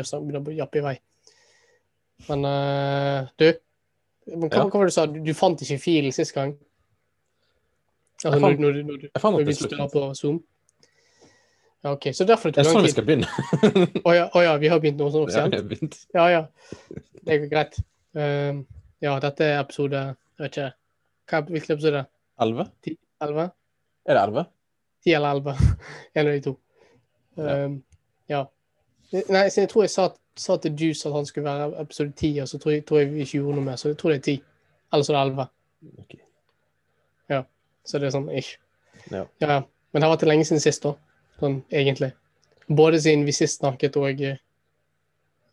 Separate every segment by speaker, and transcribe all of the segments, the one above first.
Speaker 1: begynner å jappe i vei. Men eh, du, men hva,
Speaker 2: Ja.
Speaker 1: hva var det du sa? Du, du fant ikke filen sist gang? Altså,
Speaker 2: Jeg fant-
Speaker 1: når, når, når,
Speaker 2: Jeg fant
Speaker 1: når
Speaker 2: den
Speaker 1: vi
Speaker 2: til
Speaker 1: skulle
Speaker 2: slutt.
Speaker 1: ha på Zoom? Ja, OK. Så derfor det
Speaker 2: Jeg
Speaker 1: tok lang
Speaker 2: sånn vi
Speaker 1: tid.
Speaker 2: skal begynne.
Speaker 1: Å ja, å ja, vi har begynt nå sånn
Speaker 2: Ja,
Speaker 1: offisielt?
Speaker 2: vi har begynt.
Speaker 1: Ja, ja. Det går greit. Ehm, ja, dette er episode Jeg vet ikke. Hva, hvilken episode?
Speaker 2: Elleve?
Speaker 1: 11?
Speaker 2: Er det elleve?
Speaker 1: 10 eller 11. En av de to.
Speaker 2: Ja.
Speaker 1: Um, ja. Nei, så jeg tror jeg sa, sa til Juice at han skulle være episode 10, og så tror jeg, tror jeg vi ikke gjorde noe mer, så jeg tror det er 10. Eller så er det 11.
Speaker 2: Ok.
Speaker 1: Så det er sånn ish.
Speaker 2: Ja.
Speaker 1: ja. Men det har vært lenge siden sist, da. Sånn egentlig. Både siden vi sist snakket og eh,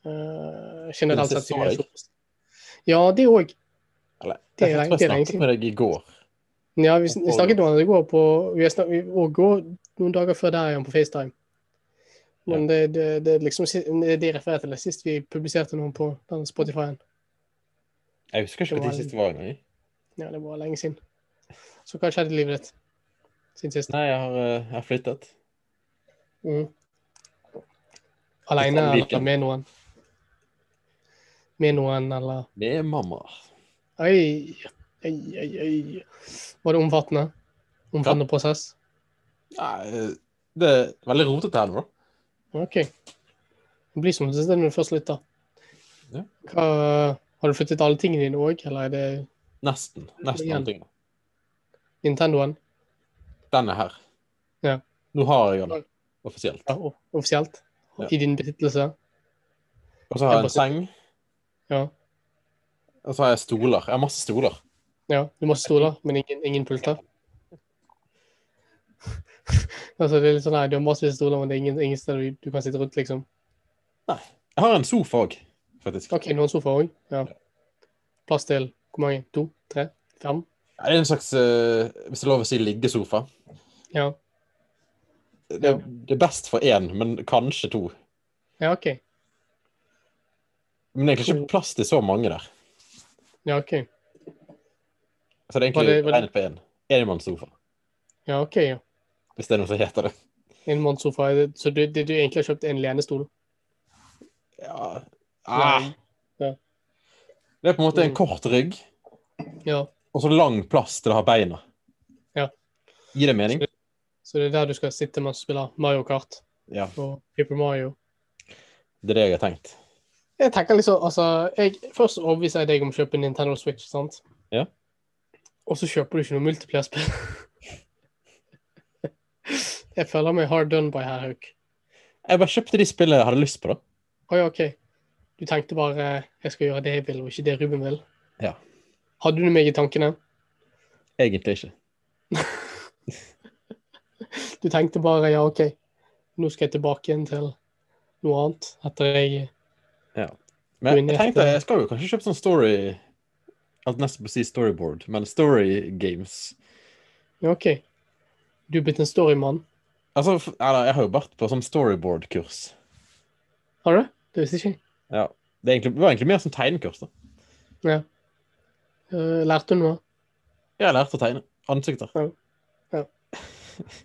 Speaker 1: generelt
Speaker 2: Siden
Speaker 1: sett.
Speaker 2: sist så deg.
Speaker 1: Ja, det òg.
Speaker 2: Eller,
Speaker 1: Det er
Speaker 2: jeg
Speaker 1: lenge-
Speaker 2: tror
Speaker 1: det er
Speaker 2: jeg
Speaker 1: lenge
Speaker 2: snakket med deg i går.
Speaker 1: Ja, vi, sn- vi snakket om det i går på Vi har snak- vi- og går noen dager før der igjen på FaceTime. Men det, det, det er liksom si- det de refererer til, det sist vi publiserte noen på den Spotify-en.
Speaker 2: Jeg husker ikke
Speaker 1: Det
Speaker 2: når
Speaker 1: var-
Speaker 2: det siste var engang.
Speaker 1: Ja, det var lenge siden. Så hva skjedde i livet ditt siden sist?
Speaker 2: Nei, jeg har, eh, jeg har flyttet.
Speaker 1: Mm. Aleine eller
Speaker 2: Hvilken?
Speaker 1: med noen? Med noen, eller
Speaker 2: Med mamma.
Speaker 1: Oi, oi, oi, oi. Var det omfattende? Omfattende prosess?
Speaker 2: Nei, eh, det er veldig rotete her nå. da.
Speaker 1: OK. Det blir som det er når du først slutter.
Speaker 2: Ja.
Speaker 1: Hva, har du flyttet alle tingene dine òg, eller er det
Speaker 2: Nesten. Nesten
Speaker 1: Igjen.
Speaker 2: alle tingene.
Speaker 1: Nintendoen
Speaker 2: Den er her.
Speaker 1: Ja.
Speaker 2: Nå har jeg den offisielt.
Speaker 1: ja, o- offisielt?
Speaker 2: Ja.
Speaker 1: I din besittelse?
Speaker 2: Og så har
Speaker 1: Jeg
Speaker 2: jeg en seng.
Speaker 1: Ja.
Speaker 2: Og så har jeg stoler. Jeg har masse stoler.
Speaker 1: ja du må stole, men ingen, ingen pulter? altså, det er litt sånn, nei, du har massevis av stoler, men det er ingen, ingen steder du, du kan sitte rundt, liksom.
Speaker 2: Jeg har en sofa òg, faktisk.
Speaker 1: OK, noen sofaer òg? Ja. Plass til hvor mange? To? Tre? Fem?
Speaker 2: Ja, Det er en slags, eh, hvis det er lov å si, liggesofa.
Speaker 1: Ja.
Speaker 2: Det, det er best for én, men kanskje to.
Speaker 1: Ja, OK.
Speaker 2: Men det er egentlig ikke plass til så mange der.
Speaker 1: Ja, OK.
Speaker 2: Så
Speaker 1: Var
Speaker 2: det er egentlig
Speaker 1: det- var det-
Speaker 2: regnet på én. Enmannssofa.
Speaker 1: Ja, ok, ja.
Speaker 2: Hvis det er noe som heter det.
Speaker 1: En mannssofa. er det- Så du, du, du egentlig har kjøpt en lenestol?
Speaker 2: Ja. Ah.
Speaker 1: Ja.
Speaker 2: Det er på en måte en
Speaker 1: Mm.
Speaker 2: kort rygg
Speaker 1: Ja.
Speaker 2: og så lang plass til å ha beina.
Speaker 1: Ja.
Speaker 2: Gir det mening?
Speaker 1: Så det er der du skal sitte mens du spiller Mario Kart
Speaker 2: Ja.
Speaker 1: og Paper Mario.
Speaker 2: Det er det jeg har tenkt.
Speaker 1: Jeg tenker liksom, altså, jeg, Først overbeviser jeg deg om å kjøpe en Nintendo Switch, sant?
Speaker 2: Ja.
Speaker 1: Og så kjøper du ikke noe multiplierspill. jeg føler meg hard done by her, Hauk.
Speaker 2: Jeg bare kjøpte de spillene jeg hadde lyst på, da.
Speaker 1: Å ja, OK. Du tenkte bare jeg skal gjøre det jeg vil, og ikke det Ruben vil.
Speaker 2: Ja.
Speaker 1: Hadde du meg i tankene?
Speaker 2: Egentlig ikke.
Speaker 1: Du tenkte bare ja, OK, nå skal jeg tilbake igjen til noe annet etter jeg
Speaker 2: Men
Speaker 1: Men
Speaker 2: jeg
Speaker 1: jeg-
Speaker 2: tenkte jeg skal jo kanskje kjøpe sånn story Jeg nesten på å si storyboard, men story games.
Speaker 1: Ja, OK. Du er blitt en storymann.
Speaker 2: Altså, f- eller, jeg har jo vært på sånn storyboard-kurs.
Speaker 1: Har du? Det visste ikke jeg.
Speaker 2: Ja. Det, er egentlig, det var egentlig mer sånn tegnekurs, da.
Speaker 1: Eh, Lærte du noe?
Speaker 2: Jeg har lært å tegne ansikter.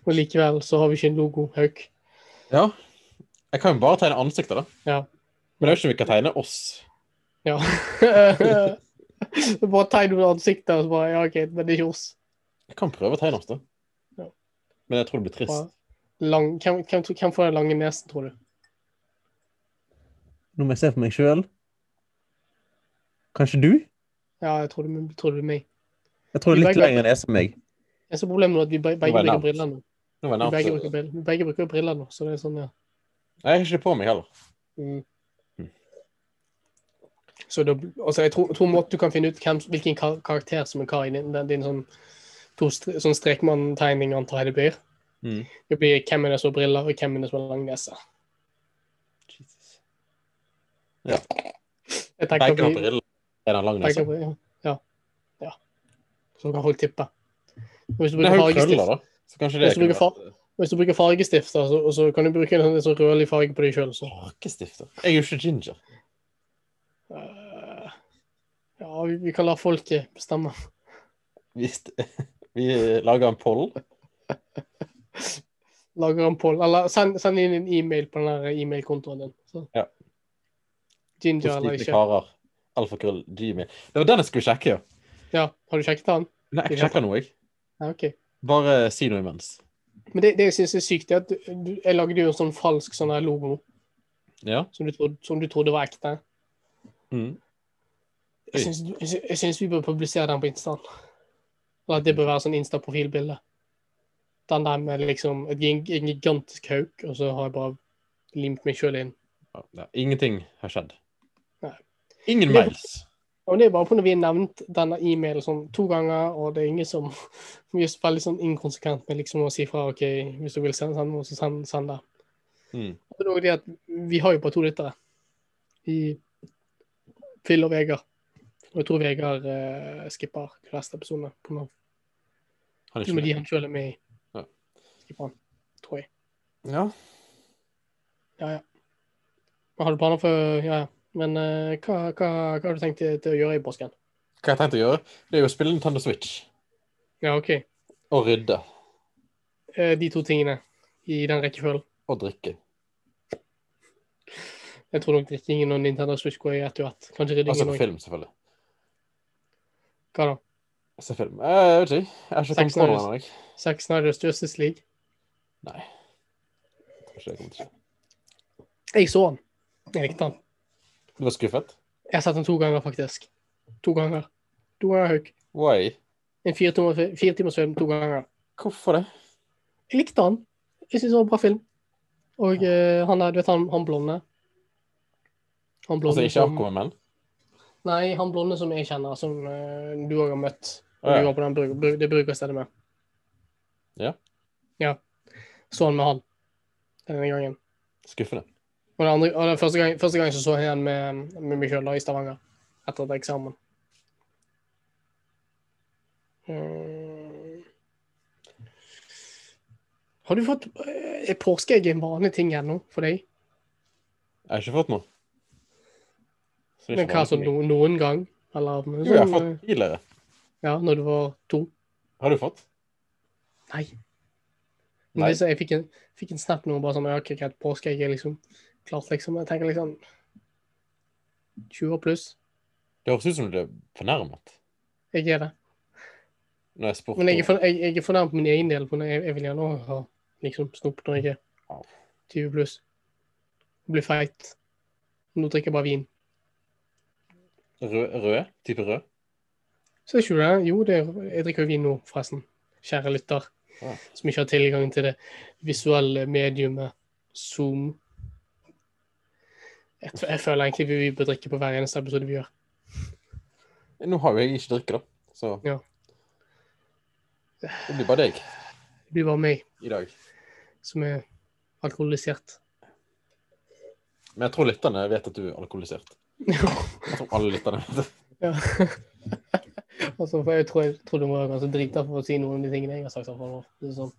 Speaker 1: Og likevel så har vi ikke en logo, Hauk.
Speaker 2: Ja. Jeg kan jo bare tegne ansikter, da.
Speaker 1: Ja.
Speaker 2: Men det er jo ikke om vi kan tegne oss.
Speaker 1: Ja. bare tegn noen ansikter, og så bare Ja, OK, men det er ikke oss.
Speaker 2: Jeg kan prøve å tegne oss, da.
Speaker 1: Ja.
Speaker 2: Men jeg tror det blir
Speaker 1: Bare
Speaker 2: trist.
Speaker 1: Lang, hvem, hvem, tror- hvem får den lange nesen, tror du?
Speaker 2: Nå må jeg se på meg sjøl. Kanskje du?
Speaker 1: Ja, jeg tror det, men- tror det er meg.
Speaker 2: Jeg tror
Speaker 1: det er litt Begge-
Speaker 2: nese enn meg.
Speaker 1: Jeg så problemet nå at vi be- begge
Speaker 2: var jeg
Speaker 1: bruker
Speaker 2: nærmest.
Speaker 1: briller nå.
Speaker 2: Nå var
Speaker 1: Vi
Speaker 2: jeg
Speaker 1: begge
Speaker 2: nærmest.
Speaker 1: bruker, briller- vi begge bruker briller nå, så det er sånn, ja.
Speaker 2: Nei, Jeg har ikke det på meg heller.
Speaker 1: Mm.
Speaker 2: Mm.
Speaker 1: Så da, altså jeg tror, tror måten du kan finne ut hvem, hvilken kar karakter som er hva i din, den- din sånn, to stre, sånn strekmann-tegning, antar jeg det blir.
Speaker 2: Mm.
Speaker 1: Det blir hvem er det som har briller, og hvem er det som har lang nese.
Speaker 2: Jesus.
Speaker 1: Jeg tenker
Speaker 2: Begge har
Speaker 1: vi-
Speaker 2: briller. altså. Er den lang
Speaker 1: begge
Speaker 2: nese?
Speaker 1: har briller, Ja. ja. Så kan folk tippe. Og Hvis du
Speaker 2: Men
Speaker 1: bruker
Speaker 2: jeg har jo
Speaker 1: fargestift,
Speaker 2: krøller, da. Så kanskje
Speaker 1: Hvis
Speaker 2: det
Speaker 1: du bruker
Speaker 2: kunne vært-
Speaker 1: hvis du bruker fargestift da, så, og så kan du bruke en sånn, en sånn rødlig farge på deg sjøl, så
Speaker 2: Hakestifter. Jeg er jo ikke ginger.
Speaker 1: eh, Ja, vi, vi kan la folket bestemme.
Speaker 2: Vi, vi lager en poll.
Speaker 1: lager en poll, eller send, send inn en e-mail på den der e-mail-kontoen din. Så.
Speaker 2: Ja.
Speaker 1: Ginger eller
Speaker 2: Positive
Speaker 1: ikke.
Speaker 2: karer. Alfakrøll Gmail. Det var den jeg skulle sjekke, jo.
Speaker 1: Ja, Har du sjekket den?
Speaker 2: Nei, jeg sjekker noe, jeg.
Speaker 1: Ja, ok.
Speaker 2: Bare si noe imens.
Speaker 1: Men det, det jeg syns er sykt, er at du, du- jeg lagde jo en sånn falsk sånn her logo
Speaker 2: Ja.
Speaker 1: som du, trodde, som du trodde var ekte.
Speaker 2: Mm. Oi.
Speaker 1: Jeg syns, jeg syns- jeg syns vi bør publisere den på Instaen. Eller at det bør være sånn Insta-profilbilde. Den der med liksom et, gig- en gigantisk hauk, og så har jeg bare limt meg sjøl inn.
Speaker 2: Ja, ja. Ingenting har skjedd.
Speaker 1: Nei.
Speaker 2: Ingen
Speaker 1: Det-
Speaker 2: mails.
Speaker 1: Og det er bare på når vi har nevnt denne e-mailen sånn to ganger, og det er ingen som Vi er så veldig sånn inkonsekvent med liksom å si fra OK, hvis du vil sende, send noe, så send, send det.
Speaker 2: Mm.
Speaker 1: Og det er også det at vi har jo bare to lyttere. I Phil og Vegard. Og jeg tror Vegard eh, skipper de fleste episodene. på nå.
Speaker 2: Han er
Speaker 1: Til og med de
Speaker 2: ikke med.
Speaker 1: han sjøl er med i.
Speaker 2: Ja.
Speaker 1: Skipper han, tror jeg.
Speaker 2: Ja.
Speaker 1: Ja, ja. Men har du planer for Ja, ja. Men eh, hva, hva, hva har du tenkt til, til å gjøre i påsken?
Speaker 2: Hva jeg har tenkt å gjøre, det er jo å spille Nintendo Switch
Speaker 1: Ja, OK.
Speaker 2: og rydde
Speaker 1: Eh, de to tingene i den rekkefølgen.
Speaker 2: og drikke.
Speaker 1: Jeg tror nok drikkingen og Nintendo Switch går i ett og ett. Kanskje
Speaker 2: Altså
Speaker 1: ryddingen
Speaker 2: på
Speaker 1: òg.
Speaker 2: film, selvfølgelig.
Speaker 1: Hva da?
Speaker 2: Se film. Eh, Jeg vet ikke. Jeg har ikke kommet
Speaker 1: Sex
Speaker 2: på noe
Speaker 1: Snyder's-
Speaker 2: ennå, jeg.
Speaker 1: Zack Snyder's Justice League.
Speaker 2: Nei. Kanskje jeg kommer til å skje.
Speaker 1: Jeg så den. Jeg likte den.
Speaker 2: Du var skuffet?
Speaker 1: Jeg har sett den to ganger, faktisk. To ganger. To ganger Hauk.
Speaker 2: Why?
Speaker 1: En fire timer- fire timers film to ganger.
Speaker 2: Hvorfor det?
Speaker 1: Jeg likte han. Jeg syns det var en bra film. Og eh, han der, du vet han, han blonde Han blonde
Speaker 2: Altså ikke
Speaker 1: som
Speaker 2: Aquaman?
Speaker 1: Nei, han blonde som jeg kjenner, som eh, du òg har møtt.
Speaker 2: Å,
Speaker 1: Og
Speaker 2: ja.
Speaker 1: vi var på den bruk, bruk, det brukerstedet med.
Speaker 2: Ja.
Speaker 1: Ja. Så han med han denne gangen.
Speaker 2: Skuffende.
Speaker 1: Og den, andre, og den første, gang, første gang så så jeg han med, med meg sjøl i Stavanger, etter et eksamen. Mm. Har du fått eh, Er påskeegg en vanlig ting ennå for deg?
Speaker 2: Jeg har ikke fått noe. Så det er
Speaker 1: Men
Speaker 2: ikke
Speaker 1: hva
Speaker 2: vanlig
Speaker 1: sånn
Speaker 2: for meg.
Speaker 1: no, noen gang? Eller
Speaker 2: Jo, jeg har
Speaker 1: sånn,
Speaker 2: fått tidligere.
Speaker 1: eh, ja, når du var to?
Speaker 2: Har du fått?
Speaker 1: Nei.
Speaker 2: Nei.
Speaker 1: Men det, så jeg fikk en, fikk en snap nå, bare sånn Jeg har ikke helt påskeegg. Jeg liksom klart, liksom. Jeg tenker liksom 20 år pluss.
Speaker 2: Det høres ut som du ble fornærmet.
Speaker 1: Jeg er det.
Speaker 2: Når jeg spurte
Speaker 1: Men jeg er,
Speaker 2: om-
Speaker 1: for, jeg, jeg er fornærmet på min egen del, for jeg, jeg vil gjerne også ha liksom, snop når jeg er
Speaker 2: Au.
Speaker 1: 20 pluss. Bli feit. Nå drikker jeg bare vin.
Speaker 2: Rød, rød? Type rød?
Speaker 1: Så er ikke det. Jo, det er, jeg drikker jo vin nå, forresten. Kjære lytter,
Speaker 2: Ja.
Speaker 1: som ikke har tilgang til det visuelle mediumet Zoom. Jeg, f- jeg føler egentlig vi- vi bør drikke på hver eneste episode vi gjør.
Speaker 2: Nå har jo jeg ikke drikke, da. Så
Speaker 1: Ja.
Speaker 2: det blir bare deg
Speaker 1: Det blir bare meg
Speaker 2: i dag.
Speaker 1: som er alkoholisert.
Speaker 2: Men jeg tror lytterne vet at du er alkoholisert. Jeg tror alle lytterne vet det.
Speaker 1: Ja. altså, for jeg tror, jeg tror du må være ganske drita for å si noen av de tingene jeg har sagt. Sånn. Det er sånn.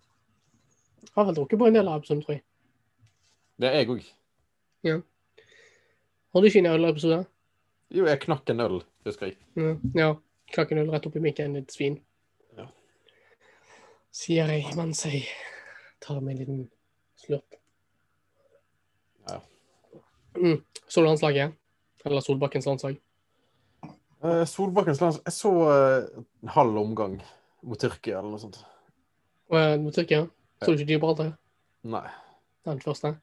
Speaker 1: Jeg har vel drukket på en del av episoden, tror jeg.
Speaker 2: Det er jeg òg.
Speaker 1: Har du ikke en ølepisode?
Speaker 2: Jo, jeg knakk en øl, husker jeg.
Speaker 1: Ja. ja. Klakken øl rett opp i mikken, ditt svin.
Speaker 2: Ja.
Speaker 1: Sier jeg mens jeg tar meg en liten slurp.
Speaker 2: Ja.
Speaker 1: Mm. Så du landslaget? Eller Solbakkens landslag?
Speaker 2: Eh, Solbakkens lands... Jeg så eh, en halv omgang mot Tyrkia eller noe sånt.
Speaker 1: Og, eh, Mot Tyrkia? Så du ikke Gibraltar?
Speaker 2: Nei.
Speaker 1: Den første?
Speaker 2: Jeg har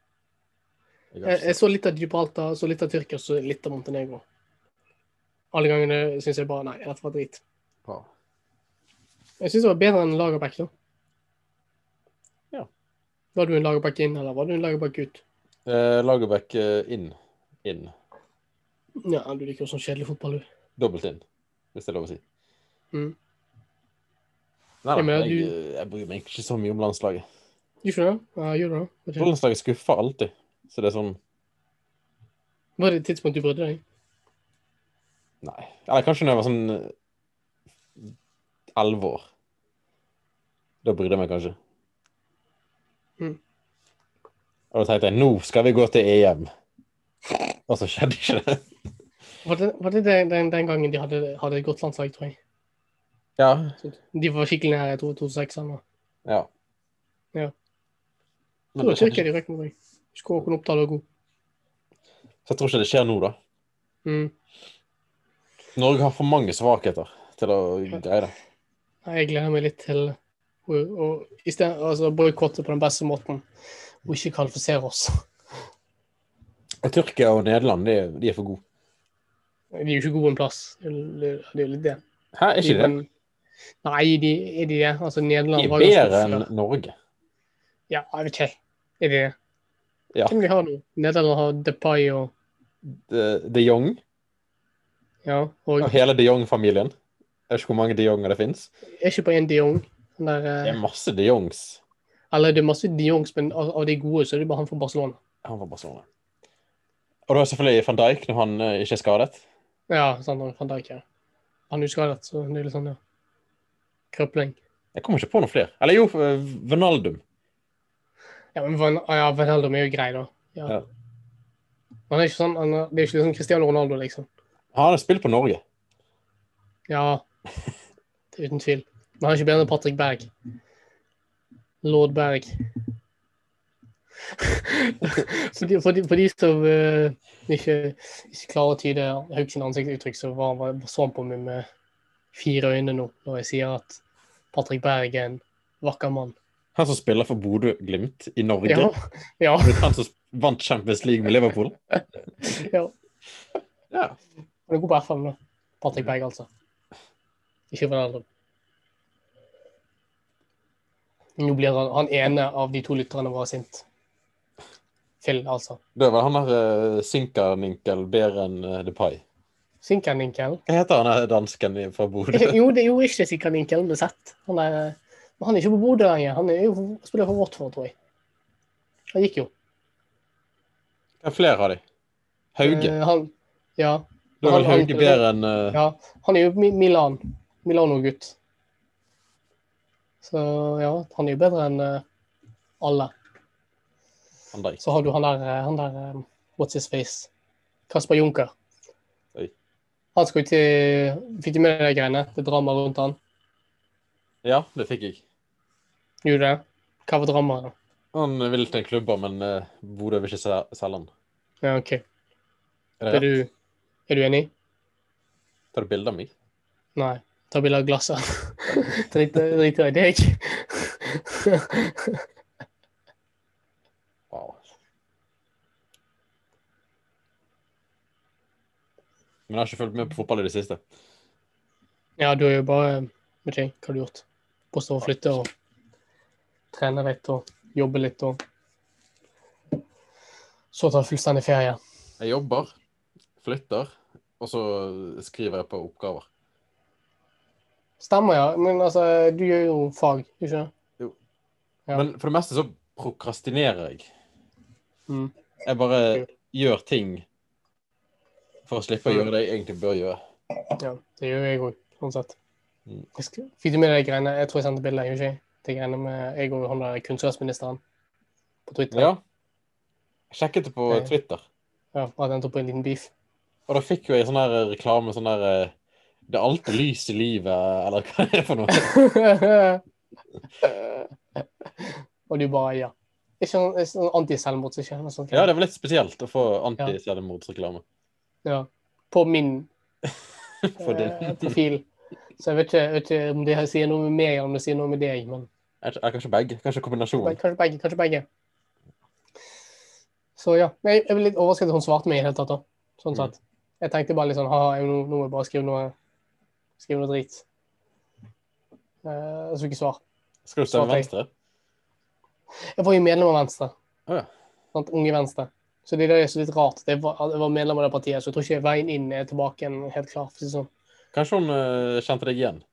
Speaker 1: Jeg,
Speaker 2: ikke
Speaker 1: jeg så litt av Gibraltar, så litt av Tyrkia, så litt av Montenegro. Alle gangene syns jeg bare Nei, dette var drit.
Speaker 2: sett på.
Speaker 1: Jeg syns det var bedre enn Lagerbäck, da.
Speaker 2: Ja.
Speaker 1: Var du en Lagerbäck inn, eller var du en Lagerbäck ut?
Speaker 2: Eh, Lagerbäck eh, inn. Inn.
Speaker 1: Ja, du liker jo sånn kjedelig fotball, du.
Speaker 2: Dobbelt inn, hvis det er lov å si.
Speaker 1: Mm. Ja,
Speaker 2: Nei da,
Speaker 1: men
Speaker 2: jeg,
Speaker 1: du-
Speaker 2: eh, jeg bryr meg ikke så mye om landslaget.
Speaker 1: Gjør ikke det? Ja, gjør det. da. Vet ikke.
Speaker 2: Landslaget skuffer alltid. Så det er sånn
Speaker 1: Var det et tidspunkt du brydde deg?
Speaker 2: Nei. Eller kanskje når jeg var sånn elleve år. Da brydde jeg meg kanskje. Hm.
Speaker 1: Mm.
Speaker 2: Og da tenkte jeg nå skal vi gå til EM. Og så skjedde ikke det.
Speaker 1: Var det, var det den, den, den gangen de hadde, hadde et godt landslag, tror jeg?
Speaker 2: Ja.
Speaker 1: Så De var skikkelig nære, jeg tror 2006 eller noe.
Speaker 2: Ja.
Speaker 1: Ja.
Speaker 2: Men
Speaker 1: Så
Speaker 2: det
Speaker 1: da
Speaker 2: skjedde
Speaker 1: Tyrkia
Speaker 2: ikke.
Speaker 1: de røk mot meg. Skåken Oppdal var god.
Speaker 2: Så jeg tror ikke det skjer nå, da.
Speaker 1: Mm.
Speaker 2: Norge har for mange svakheter til å greie det.
Speaker 1: Nei, Jeg gleder meg litt til å, å i stedet- altså, boikotte på den beste måten, og ikke kvalifisere oss.
Speaker 2: Og Tyrkia og Nederland de, de er for gode.
Speaker 1: De er jo ikke gode en plass. Det er jo litt det.
Speaker 2: Hæ, er ikke det?
Speaker 1: Nei, de, er de det? Altså,
Speaker 2: De
Speaker 1: Nederland
Speaker 2: er
Speaker 1: var ganske
Speaker 2: bedre enn
Speaker 1: før.
Speaker 2: Norge.
Speaker 1: Ja, jeg vet ikke. Er de det?
Speaker 2: Ja.
Speaker 1: Hvem de har nå? Nederland har Depay og
Speaker 2: De, de Jong
Speaker 1: Ja, og
Speaker 2: og hele de Jong-familien. Jeg vet ikke hvor mange de Jonger det fins.
Speaker 1: er ikke bare en de Jong. Den der, eh,
Speaker 2: Det er masse de Jongs.
Speaker 1: Eller det er masse de Jongs, men av, av de gode så er det bare han fra Barcelona.
Speaker 2: Han var Barcelona. Og da er selvfølgelig van Dijk når han eh, ikke er skadet.
Speaker 1: Ja, sant, han fant jeg ikke. Han er uskadet, så det er litt sånn, ja. Krøpling.
Speaker 2: Jeg kommer ikke på noen flere. Eller jo, eh, Wijnaldum.
Speaker 1: Ja, men Van, ja, Van Heldum er jo grei, da. Ja.
Speaker 2: Ja.
Speaker 1: Han er ikke sånn, han er, det er ikke liksom Cristiano Ronaldo, liksom.
Speaker 2: Han har spilt på Norge.
Speaker 1: Ja, det er uten tvil. Men han er ikke bedre enn Patrick Berg. Lord Berg. for, de, for, de, for de som eh, ikke, ikke klarer å tyde Haugs ansiktsuttrykk, så var var- så han på meg med fire øyne nå når jeg sier at Patrick Berg er en vakker mann.
Speaker 2: Han som spiller for Bodø-Glimt i Norge.
Speaker 1: Ja. ja,
Speaker 2: Han som vant Champions League med Liverpool.
Speaker 1: ja.
Speaker 2: Ja.
Speaker 1: Han er god på FM, da. Patrick Berg, altså. Ikke Van Eldrup. Nå blir han, han ene av de to lytterne våre sint. Phil, altså.
Speaker 2: Det var han der uh, Sinkerninkel bedre enn eh, Depay.
Speaker 1: Sinkerninkel.
Speaker 2: Hva heter han der dansken i- fra Bodø?
Speaker 1: Jo, det er jo ikke Sinkerninkel med Z. Han er, men han er ikke på Bodø lenger. Han er jo spiller for Watford, tror jeg. Han gikk jo.
Speaker 2: Hva er flere av de? Hauge.
Speaker 1: Eh, han, ja,
Speaker 2: Da er vel
Speaker 1: han-
Speaker 2: Hauge bedre enn eh,
Speaker 1: ja. Han er jo Mi- Milan. Milano-gutt. Så ja, han er jo bedre enn eh, alle.
Speaker 2: Van Dijk.
Speaker 1: Så har du han der, eh, han der eh, What's his face? Kasper Junker.
Speaker 2: Oi.
Speaker 1: Han skal jo til Fikk du med deg de greiene? Det er drama rundt han.
Speaker 2: Ja, det fikk jeg.
Speaker 1: Gjorde du det? Hva var dramaet, da?
Speaker 2: Han vil til en klubber, men eh, Bodø vil ikke se- selge han.
Speaker 1: Ja, OK.
Speaker 2: Er det
Speaker 1: Er
Speaker 2: rett?
Speaker 1: du, er du enig?
Speaker 2: Tar du bilde av meg?
Speaker 1: Nei. Ta bilde av glasset. Drit drit i deg.
Speaker 2: Wow. Men jeg har ikke fulgt med på fotball i det siste.
Speaker 1: Ja, du er jo bare eh, Vet ikke hva du har gjort. Bortsett fra å flytte og trene litt og jobbe litt og Så ta fullstendig ferie.
Speaker 2: Jeg jobber, flytter, og så skriver jeg på oppgaver.
Speaker 1: Stemmer, ja. Men altså, du gjør jo fag, ikke sant? Ja.
Speaker 2: Men for det meste så prokrastinerer jeg.
Speaker 1: Mm.
Speaker 2: Jeg bare gjør ting for å slippe å gjøre det jeg egentlig bør gjøre.
Speaker 1: Ja, det gjør jeg òg, sånn sett.
Speaker 2: Mm.
Speaker 1: Jeg skal- Fikk du med deg de greiene? Jeg tror jeg sendte bilde, gjorde ikke jeg? De greiene med jeg og han der kunnskapsministeren på Twitter.
Speaker 2: Ja. Jeg sjekket det på
Speaker 1: Ja.
Speaker 2: Twitter,
Speaker 1: Ja, At jeg endte opp i en liten beef.
Speaker 2: og da fikk jo jeg sånn her reklame sånn der eh, Det er alltid lys i livet, eller hva det er for noe.
Speaker 1: og du bare ja. Ikke sånn, ikke sånn anti-selvmord, ikke noe sånt.
Speaker 2: Ja, det var litt spesielt å få antiselvmordsreklame.
Speaker 1: Ja. På min
Speaker 2: For din.
Speaker 1: eh, profil. Så jeg vet ikke, jeg vet ikke om det her sier noe med meg, eller om det sier noe med deg, men
Speaker 2: Er- er Kanskje begge. Kanskje
Speaker 1: Men
Speaker 2: kombinasjonen.
Speaker 1: kanskje begge. Kanskje begge. Så ja. Men jeg, jeg ble litt overrasket at hun svarte meg i det hele tatt. da. Sånn
Speaker 2: Mm.
Speaker 1: sett. Jeg tenkte bare litt sånn ha-ha, nå, nå må jeg bare skrive noe skrive noe drit. Uh, så fikk jeg svar.
Speaker 2: Skal du stemme
Speaker 1: Svarte jeg.
Speaker 2: venstre?
Speaker 1: Jeg var jo medlem av Venstre.
Speaker 2: Å ja.
Speaker 1: Sant? Unge Venstre. Så det der er så litt rart. at Jeg var, at jeg var medlem av det partiet, så jeg tror ikke veien inn er tilbake igjen helt klar. for å si det sånn.
Speaker 2: Kanskje hun eh, kjente deg igjen?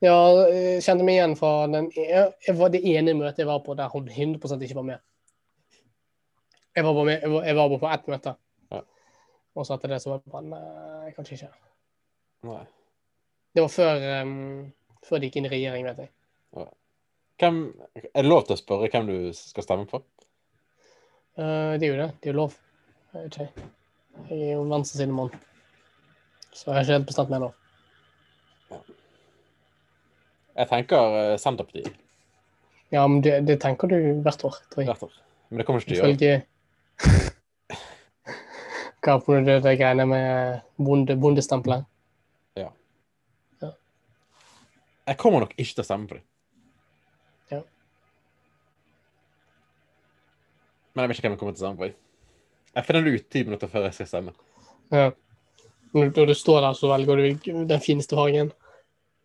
Speaker 1: Ja, eh, jeg kjente meg igjen fra den jeg, jeg var det ene møtet jeg var på der hun 100 ikke var med. Jeg var bare, med, jeg var, jeg var bare på ett møte.
Speaker 2: Ja.
Speaker 1: Og så etter det så var jeg bare Nei, kanskje ikke.
Speaker 2: Nei.
Speaker 1: Det var ehm, før, em, før de gikk inn i regjering, vet jeg.
Speaker 2: Hvem, er det lov til å spørre hvem du skal stemme på?
Speaker 1: Eh, det er jo det. Det er jo lov. Jeg vet ikke. Jeg er jo en venstresidemann. Så jeg har ikke helt bestemt meg nå.
Speaker 2: Jeg tenker eh, Senterpartiet.
Speaker 1: Ja, men det, det tenker du hvert år, tror jeg.
Speaker 2: hvert år. Men det kommer ikke til å gjøre.
Speaker 1: Ifølge Hva på det de greiene med bonde, bondestempelet?
Speaker 2: Jeg kommer nok ikke til å stemme på dem.
Speaker 1: Ja.
Speaker 2: Men jeg vet ikke hvem jeg kommer til å stemme på. Jeg finner det ut ti minutter før jeg skal stemme.
Speaker 1: Ja. Når når du står der, så velger du den fineste fargen.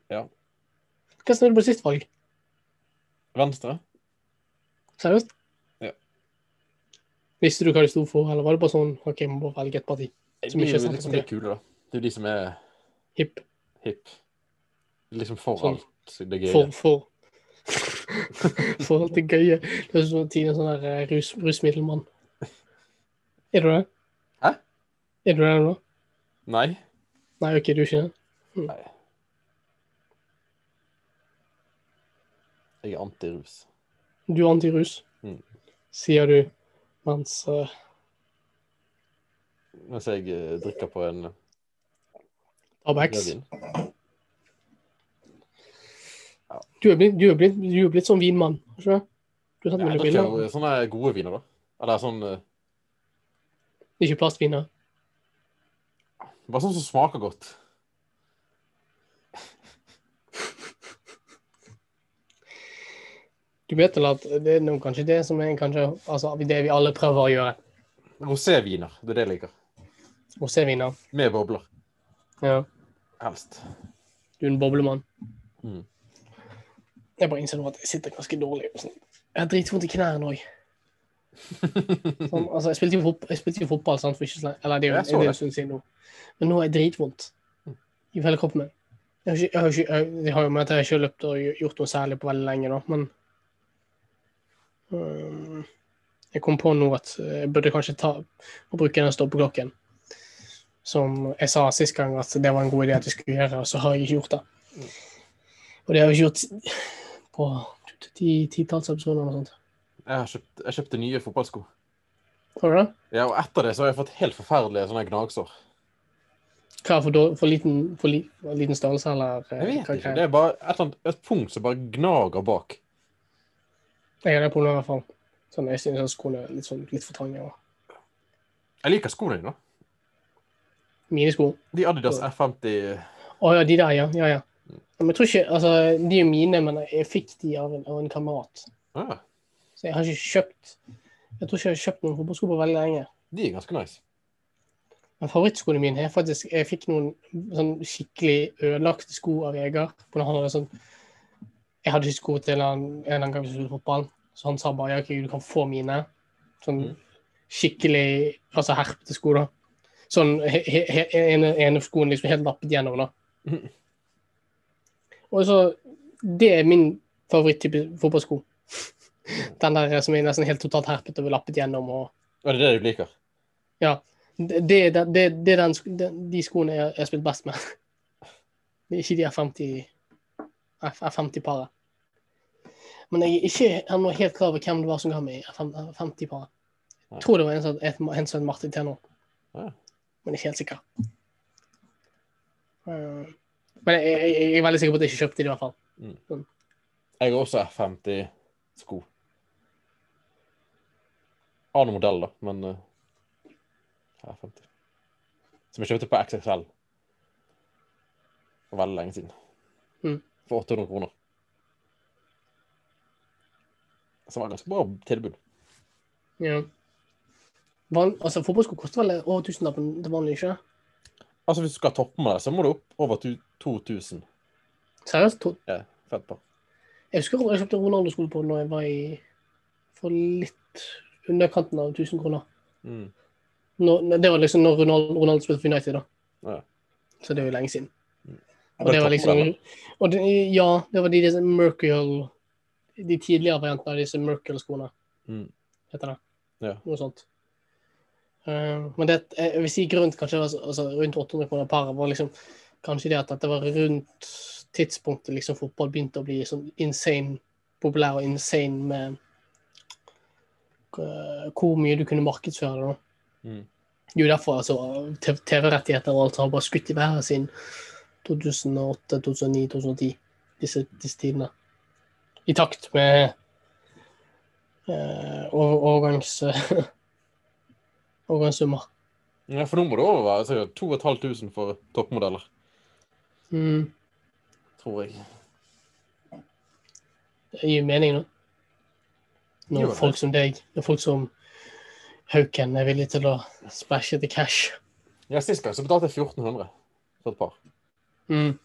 Speaker 2: Ja.
Speaker 1: Hva snudde du på sist valg?
Speaker 2: Venstre?
Speaker 1: Seriøst?
Speaker 2: Ja.
Speaker 1: Visste du hva de sto for, eller var det bare sånn OK, må bare velge et parti?
Speaker 2: Det
Speaker 1: Som
Speaker 2: er
Speaker 1: ikke
Speaker 2: jo liksom
Speaker 1: er
Speaker 2: de som er kule, da. Det er jo de som er
Speaker 1: Hipp.
Speaker 2: hipp. De er Liksom for
Speaker 1: Sånn.
Speaker 2: alt det gøye.
Speaker 1: For, for. for alt det gøye. Det er sånn Tine sånn der eh, rus, rusmiddelmann. Er du det?
Speaker 2: Hæ?
Speaker 1: Er du det nå?
Speaker 2: Nei.
Speaker 1: Nei, OK, du er ikke det.
Speaker 2: Jeg er antirus.
Speaker 1: Du er antirus,
Speaker 2: Mm.
Speaker 1: sier du mens eh,
Speaker 2: Mens jeg eh, drikker på en
Speaker 1: tar backs.
Speaker 2: rødvin.
Speaker 1: Du er blitt, du er blitt, du er blitt sånn vinmann, har du ikke det? Du har tatt
Speaker 2: Ja,
Speaker 1: med
Speaker 2: jeg
Speaker 1: deg
Speaker 2: drikker
Speaker 1: briller.
Speaker 2: jo sånne gode viner, da. Eller sånn eh,
Speaker 1: Ikke plastviner.
Speaker 2: Bare sånn som smaker godt.
Speaker 1: Du vet vel at det er noe, kanskje det som er kanskje, altså, det vi alle prøver å gjøre.
Speaker 2: Roséviner. Det er det jeg liker.
Speaker 1: Roséviner.
Speaker 2: Med bobler.
Speaker 1: Ja.
Speaker 2: Helst.
Speaker 1: Du er en boblemann.
Speaker 2: Mm.
Speaker 1: Jeg bare innser nå at jeg sitter ganske dårlig. og sånn. Jeg har dritvondt i knærne òg. Sånn, altså, jeg spilte jo fotball, jeg spilte jo fotball sant, for ikke så lenge Eller det er jo
Speaker 2: Jeg
Speaker 1: det er
Speaker 2: så
Speaker 1: jo
Speaker 2: det.
Speaker 1: en stund siden nå. Men nå har jeg dritvondt i hele kroppen min. Jeg har, ikke, jeg har, ikke, jeg, jeg har jo med at jeg har ikke har løpt og gjort noe særlig på veldig lenge, da, men øhm, Jeg kom på nå at øh, jeg burde kanskje ta og bruke den stoppeklokken. Som jeg sa sist gang at det var en god idé at vi skulle gjøre, og så har jeg ikke gjort det. Og det har jeg ikke gjort på ti titalls episoder eller noe sånt.
Speaker 2: Jeg har kjøpt, jeg kjøpte nye fotballsko.
Speaker 1: Har du det?
Speaker 2: Ja, og etter det så har jeg fått helt forferdelige sånne gnagsår.
Speaker 1: Hva for, dår- for, liten, for, li, for liten størrelse, eller? eh,
Speaker 2: Jeg vet
Speaker 1: hva-
Speaker 2: ikke.
Speaker 1: hva-
Speaker 2: Det er bare et, eller annet, et punkt som bare gnager bak.
Speaker 1: Jeg har det problemet i hvert fall. Sånn, jeg synes at skoene er litt, sånn, litt for trange. og-
Speaker 2: Jeg liker skoene dine, da.
Speaker 1: Mine sko.
Speaker 2: De Adidas F50
Speaker 1: Å ja, de der, ja. ja, ja. Men jeg tror ikke, altså, De er mine, men jeg fikk de av en, av en kamerat.
Speaker 2: ah,
Speaker 1: Så jeg har ikke kjøpt Jeg tror ikke jeg har kjøpt noen fotballsko på veldig lenge.
Speaker 2: De er ganske nice.
Speaker 1: Men favorittskoene mine er faktisk Jeg fikk noen sånn skikkelig ødelagte sko av Vegard. for når han hadde sånn Jeg hadde ikke sko til han en eller annen gang vi spilte fotball, så han sa bare ja, ok, du kan få mine. Sånn
Speaker 2: Mhm.
Speaker 1: skikkelig altså herpete sko, da. Sånn he- he- he- ene, ene skoen liksom helt lappet gjennom, da.
Speaker 2: Mhm.
Speaker 1: Og så Det er min favoritttype fotballsko. Den der som er nesten helt totalt herpet og lappet gjennom. og
Speaker 2: Og det er det du liker.
Speaker 1: det, det, er den- det, det er den, sk- den, de skoene jeg jeg har spilt best med. Det er ikke de R50 F- R50-paret. Men jeg er ikke ennå helt klar over hvem det var som ga meg R50-paret.
Speaker 2: Nei.
Speaker 1: Jeg tror det var en som het en som het Martin Tenor.
Speaker 2: Ja.
Speaker 1: Men jeg er ikke helt sikker. Eh, Men jeg, jeg, jeg er veldig sikker på at jeg ikke kjøpte de, i hvert fall.
Speaker 2: Jeg har også F50-sko. Annen modell, da, men eh, F50. Som jeg kjøpte på XXL for veldig lenge siden.
Speaker 1: Mhm.
Speaker 2: For 800 kroner. Som var et ganske bra tilbud.
Speaker 1: Ja. Van, altså, Fotballsko koster vel over tusenlappen til vanlig, ikke?
Speaker 2: Altså, hvis du skal toppe med det, så må du opp over tu- 2000.
Speaker 1: Seriøst? To,
Speaker 2: Ja, fett bra.
Speaker 1: Jeg husker jeg kjøpte Ronaldo-sko på når jeg var i for litt underkanten av 1000 kroner.
Speaker 2: Mm.
Speaker 1: Når, når- det var liksom når Ronaldo, Ronaldo spilte for United, da.
Speaker 2: Ja.
Speaker 1: Så det er jo lenge siden.
Speaker 2: Ja,
Speaker 1: Og det var
Speaker 2: toppen der,
Speaker 1: liksom og det, Ja, det var de disse Mercurial De tidligere variantene av disse Mercurial-skoene,
Speaker 2: Mm.
Speaker 1: heter det.
Speaker 2: Ja.
Speaker 1: Noe sånt. Eh, men det, jeg vil si grunt, kanskje det var så- altså, rundt 800 kroner paret, var liksom kanskje det at dette var rundt tidspunktet liksom fotball begynte å bli sånn insane populær og insane med eh, hvor mye du kunne markedsføre det. da.
Speaker 2: Mm.
Speaker 1: Det er jo derfor altså, T- TV-rettigheter og alt har bare skutt i været siden 2008, 2009, 2010. Disse, disse tidene. I takt med eh, over, overgangs, overgangssummer.
Speaker 2: Ja, for nå må det over altså, være sikkert 2500 for toppmodeller,
Speaker 1: Mm.
Speaker 2: tror jeg.
Speaker 1: Det gir mening nå. Når
Speaker 2: Gjør det.
Speaker 1: folk som deg, når folk som Hauken er villig til å spæsje til cash.
Speaker 2: Ja, Sist gang så betalte jeg 1400 for et par.
Speaker 1: Mm.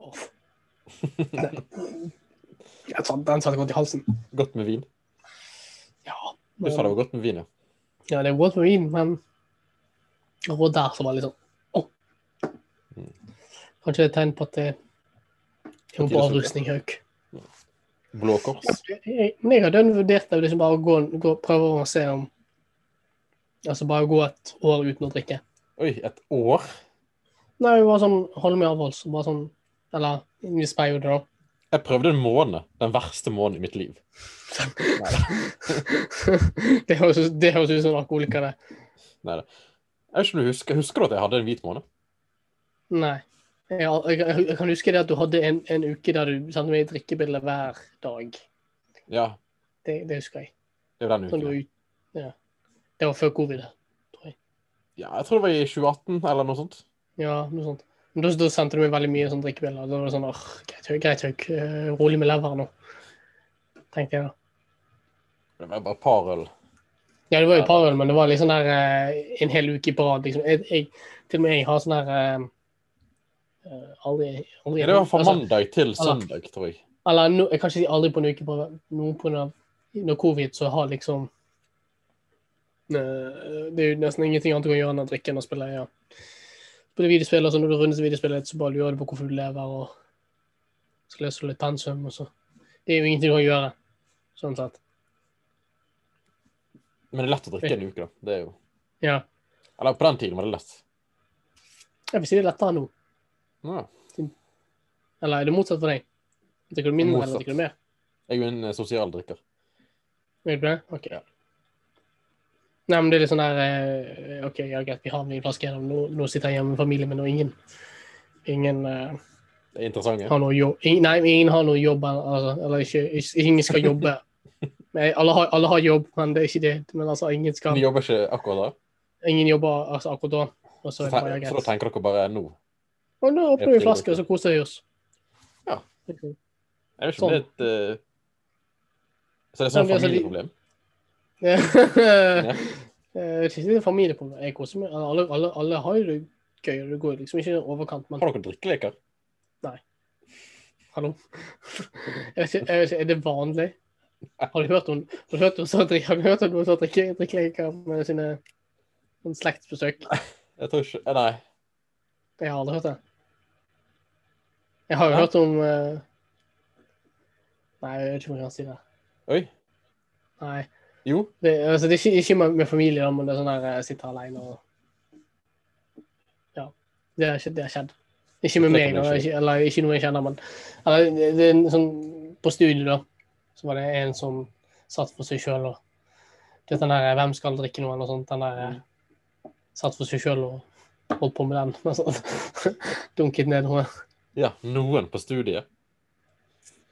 Speaker 1: Åh. Den, jeg satt, den satt godt i halsen.
Speaker 2: Godt med vin.
Speaker 1: Ja,
Speaker 2: Du sa det var godt med vin, ja.
Speaker 1: ja det er godt med vin, men det var der som var litt sånn åh. Kanskje det er et tegn på at det er
Speaker 2: Mm. På
Speaker 1: en
Speaker 2: tide
Speaker 1: bra
Speaker 2: å slutte.
Speaker 1: rustning, Hauk.
Speaker 2: Blå Kors.
Speaker 1: Jeg, men jeg hadde en vurdert det liksom bare å gå, gå, prøve å se om Altså bare gå et år uten å drikke.
Speaker 2: Oi, et år?
Speaker 1: Nei, bare sånn holde meg avholds. Bare sånn Eller en viss periode, da.
Speaker 2: Jeg prøvde en måned. Den verste måneden i mitt liv.
Speaker 1: det høres ut det høres ut som en alkoholiker, det.
Speaker 2: Jeg vet ikke om du Husker Husker du at jeg hadde en hvit måned?
Speaker 1: Nei. Jeg, jeg, jeg, jeg kan huske det at du hadde en, en uke der du sendte meg drikkebilder hver dag.
Speaker 2: Ja,
Speaker 1: Det, det husker jeg.
Speaker 2: det var den
Speaker 1: Sånn du
Speaker 2: uken.
Speaker 1: var ut- ja. Det var før covid. det.
Speaker 2: Ja, jeg tror det var i 2018 eller noe sånt.
Speaker 1: Ja, noe sånt. Men da, da sendte du meg veldig mye sånn drikkebilder. Da var det sånn åh, greit, Hauk, greit, Hauk. eh, Rolig med leveren nå. Tenkte jeg da.
Speaker 2: Det var bare et par øl.
Speaker 1: Ja, det var jo et par øl, men det var liksom der eh, en hel uke på rad. Liksom. Jeg, jeg, til og med jeg har sånn der eh, eh, Aldri, aldri
Speaker 2: Ja, Det var fra
Speaker 1: altså,
Speaker 2: mandag til søndag, tror jeg.
Speaker 1: Eller no, jeg kan ikke si aldri på en uke, bare noe på grunn av Når covid, så har liksom eh, Det er jo nesten ingenting annet du kan gjøre enn å drikke enn å spille, ja. Spille videospill, og så når du runder videospillet, så bare lurer du på hvorfor du lever, og så leser du litt pensum, og så Det er jo ingenting du kan gjøre, sånn sett.
Speaker 2: Men det er lett å drikke en uke, da. Det er jo...
Speaker 1: Ja.
Speaker 2: Eller på den tiden var det lett.
Speaker 1: Jeg vil si det er lettere nå.
Speaker 2: Ja.
Speaker 1: Eller er det motsatt for deg? Drikker du mindre, eller
Speaker 2: Motsatt.
Speaker 1: drikker du mer?
Speaker 2: Jeg er jo en eh, sosial drikker.
Speaker 1: Er du det? Ok. Nei, men det er litt sånn der eh, OK, ja, greit, vi har en flaske igjen. Nå, nå sitter jeg hjemme med familien min, og ingen Ingen eh,
Speaker 2: Det er interessant. Ja.
Speaker 1: har noe jobb ingen, Nei, ingen har noe jobb, eller- altså, eller ikke, ikke Ingen skal jobbe. Nei, alle, har, alle har jobb, men det er ikke det. Men altså, ingen
Speaker 2: Men
Speaker 1: skal
Speaker 2: De jobber ikke akkurat da.
Speaker 1: Ingen jobber altså, akkurat da. Og så
Speaker 2: Så,
Speaker 1: er det
Speaker 2: ten-
Speaker 1: bare ja,
Speaker 2: så da
Speaker 1: greit.
Speaker 2: tenker dere bare nå.
Speaker 1: Og nå åpner vi en flaske, og så koser vi oss.
Speaker 2: Ja.
Speaker 1: Ok.
Speaker 2: Jeg vet ikke om
Speaker 1: Sånn.
Speaker 2: det er et eh, Så det er
Speaker 1: Ja,
Speaker 2: sånn
Speaker 1: men altså, de-
Speaker 2: familieproblem?
Speaker 1: Ja.
Speaker 2: Ja.
Speaker 1: Eh, Det er familieproblem. Jeg koser meg. Alle, alle, alle har jo det gøy, og det går liksom ikke i overkant, men
Speaker 2: Har dere drikkeleker?
Speaker 1: hallo. Jeg vet ikke, jeg vet ikke er det vanlig? Har du hørt om har du hørt om sånn drikk- har du hørt om noen som drikker drikkeleker med sine sånn slektsbesøk?
Speaker 2: Jeg tror ikke eh, Nei.
Speaker 1: Jeg har aldri hørt det. Jeg har jo
Speaker 2: Nei.
Speaker 1: hørt om eh, Nei, jeg vet ikke om jeg kan si det.
Speaker 2: Oi.
Speaker 1: Nei.
Speaker 2: Jo.
Speaker 1: Det, altså, det er ikke, ikke med, med familie, da, men det er sånn der jeg sitter alene og Ja. Det har skjedd. Det har skjedd. Ikke med meg, da, ikke, eller ikke noe jeg kjenner, men eller, det, det er en sånn, På studiet, da, så var det en som satt for seg sjøl og Du vet den der eh, 'Hvem skal drikke noe?' eller sånt. Den der eh, satt for seg sjøl og holdt på med den. og sånn. Dunket ned noe.
Speaker 2: Ja, noen på studiet.